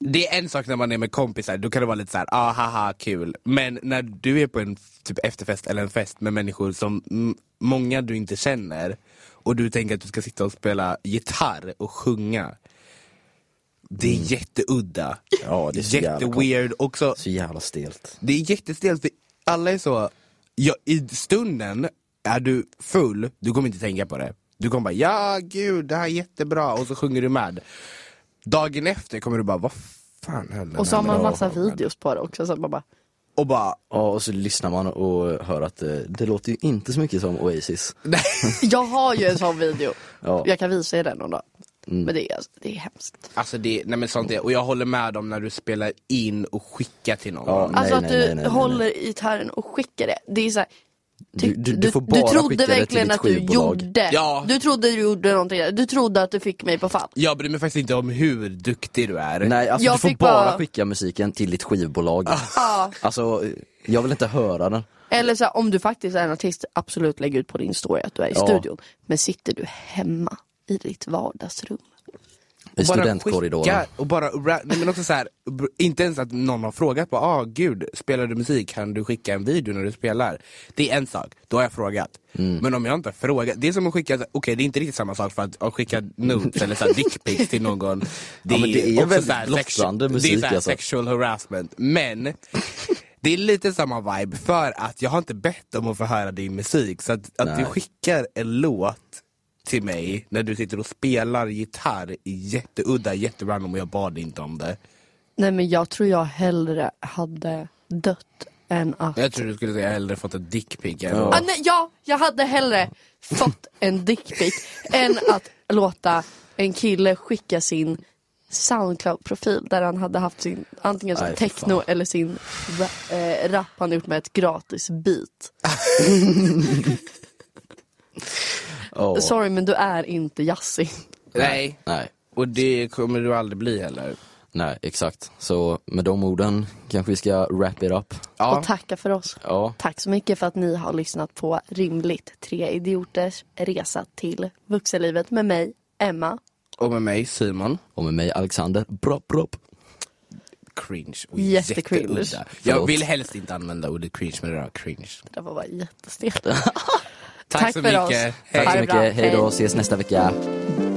C: Det är en sak när man är med kompisar, då kan det vara lite så här, ah, haha, kul. Men när du är på en typ efterfest eller en fest med människor som mm, många du inte känner och du tänker att du ska sitta och spela gitarr och sjunga. Det är jätteudda.
B: Mm. Ja, det är så jävla kon-
C: Jätteweird. Också,
B: Så jävla stelt.
C: det är jättestelt, för alla är så, ja, i stunden är du full, du kommer inte tänka på det. Du kommer bara ja gud det här är jättebra och så sjunger du med. Dagen efter kommer du bara vad fan höll den
A: Och så har
C: här
A: man
C: bra
A: massa
C: showen?"
A: videos på det också. Så man bara,
C: Och bara
B: Ja, och så lyssnar man och hör att eh, det låter ju inte så mycket som Oasis.
C: nej.
A: jag har ju en sån video.
B: Ja. Mm.
A: Jag kan visa er den någon dag. Men det är, alltså, det är hemskt.
C: Alltså det, nej men sånt är, och jag håller med om när du spelar in och skickar till någon.
B: Ja, nej,
A: Alltså att
B: nej,
A: du
B: nej, nej, nej.
A: håller gitarren och skickar det. Det är så här,
B: Du- du- du får
A: du
B: bara skicka
A: trodde
B: det till
A: verkligen
B: ditt
A: att du
B: skivbolag.
A: gjorde.
C: Ja.
A: Du trodde du gjorde någonting. Du trodde att du fick mig på fall.
C: Jag bryr mig faktiskt inte om hur duktig du är.
B: Nej, alltså
A: Jag
B: du får
A: fick
B: bara
A: bara-
B: skicka musiken till ditt skivbolag.
C: Ah.
A: Ja.
B: Alltså, eh, jag vill inte höra den.
A: Eller så här, om du faktiskt är en artist, absolut lägg ut på din story att du är i
B: Ja.
A: studion. Men sitter du hemma i ditt vardagsrum?
B: I
C: bara
B: studentkorridoren.
C: skicka Och bara, ra- nej men också så här, br- inte ens att någon har frågat bara, ah gud, spelar du musik, kan du skicka en video när du spelar? Det är en sak, då har jag frågat. Men om jag inte har frågat, det är som att skicka, okej det är inte riktigt samma sak för att, att skicka notes eller så här dickpics till någon. Det
B: men det är
C: också
B: väldigt
C: så här sexu-
B: blottande
C: Det är
B: musik,
C: så här
B: alltså.
C: sexual harassment, men det är lite samma vibe för att jag har inte bett om att få höra din musik så att, att du
B: Nej.
C: skickar en låt till mig när du sitter och spelar gitarr i jätteudda, jätterandom och jag bad inte om det.
A: Nej men jag tror jag hellre hade dött än att...
C: Jag tror du skulle säga hellre fått ett dickpic än
A: Ah, nej, ja, jag hade hellre fått en dickpic än att låta en kille skicka sin Soundcloud-profil där han hade haft sin, antingen sin
B: Nej, för
A: techno eller sin ra- eh, rap han gjort med ett gratis beat.
B: Ja.
A: Sorry men du är inte Yassin.
C: Nej,
B: Nej,
C: och det kommer du aldrig bli heller.
B: nej, exakt. Så med de orden kanske vi ska wrap it up.
C: Ja.
A: Och tacka för oss.
B: Ja,
A: Tack så mycket för att ni har lyssnat på Rimligt, tre idioters resa till vuxenlivet med mig, Emma.
C: Och med mig Simon,
B: och med mig Alexander. Brop, brop.
C: cringe och
A: Jättecringe.
C: jätteudda. Jag
B: Förlåt.
C: vill helst inte använda ordet cringe men det var cringe.
A: Det där var bara jättestelt.
C: Tack,
A: Tack
C: så
A: för oss.
C: mycket,
A: Tack
B: Tack
A: Ha
B: så
A: det bra.
B: mycket, hej då,
A: Hej.
B: ses nästa vecka.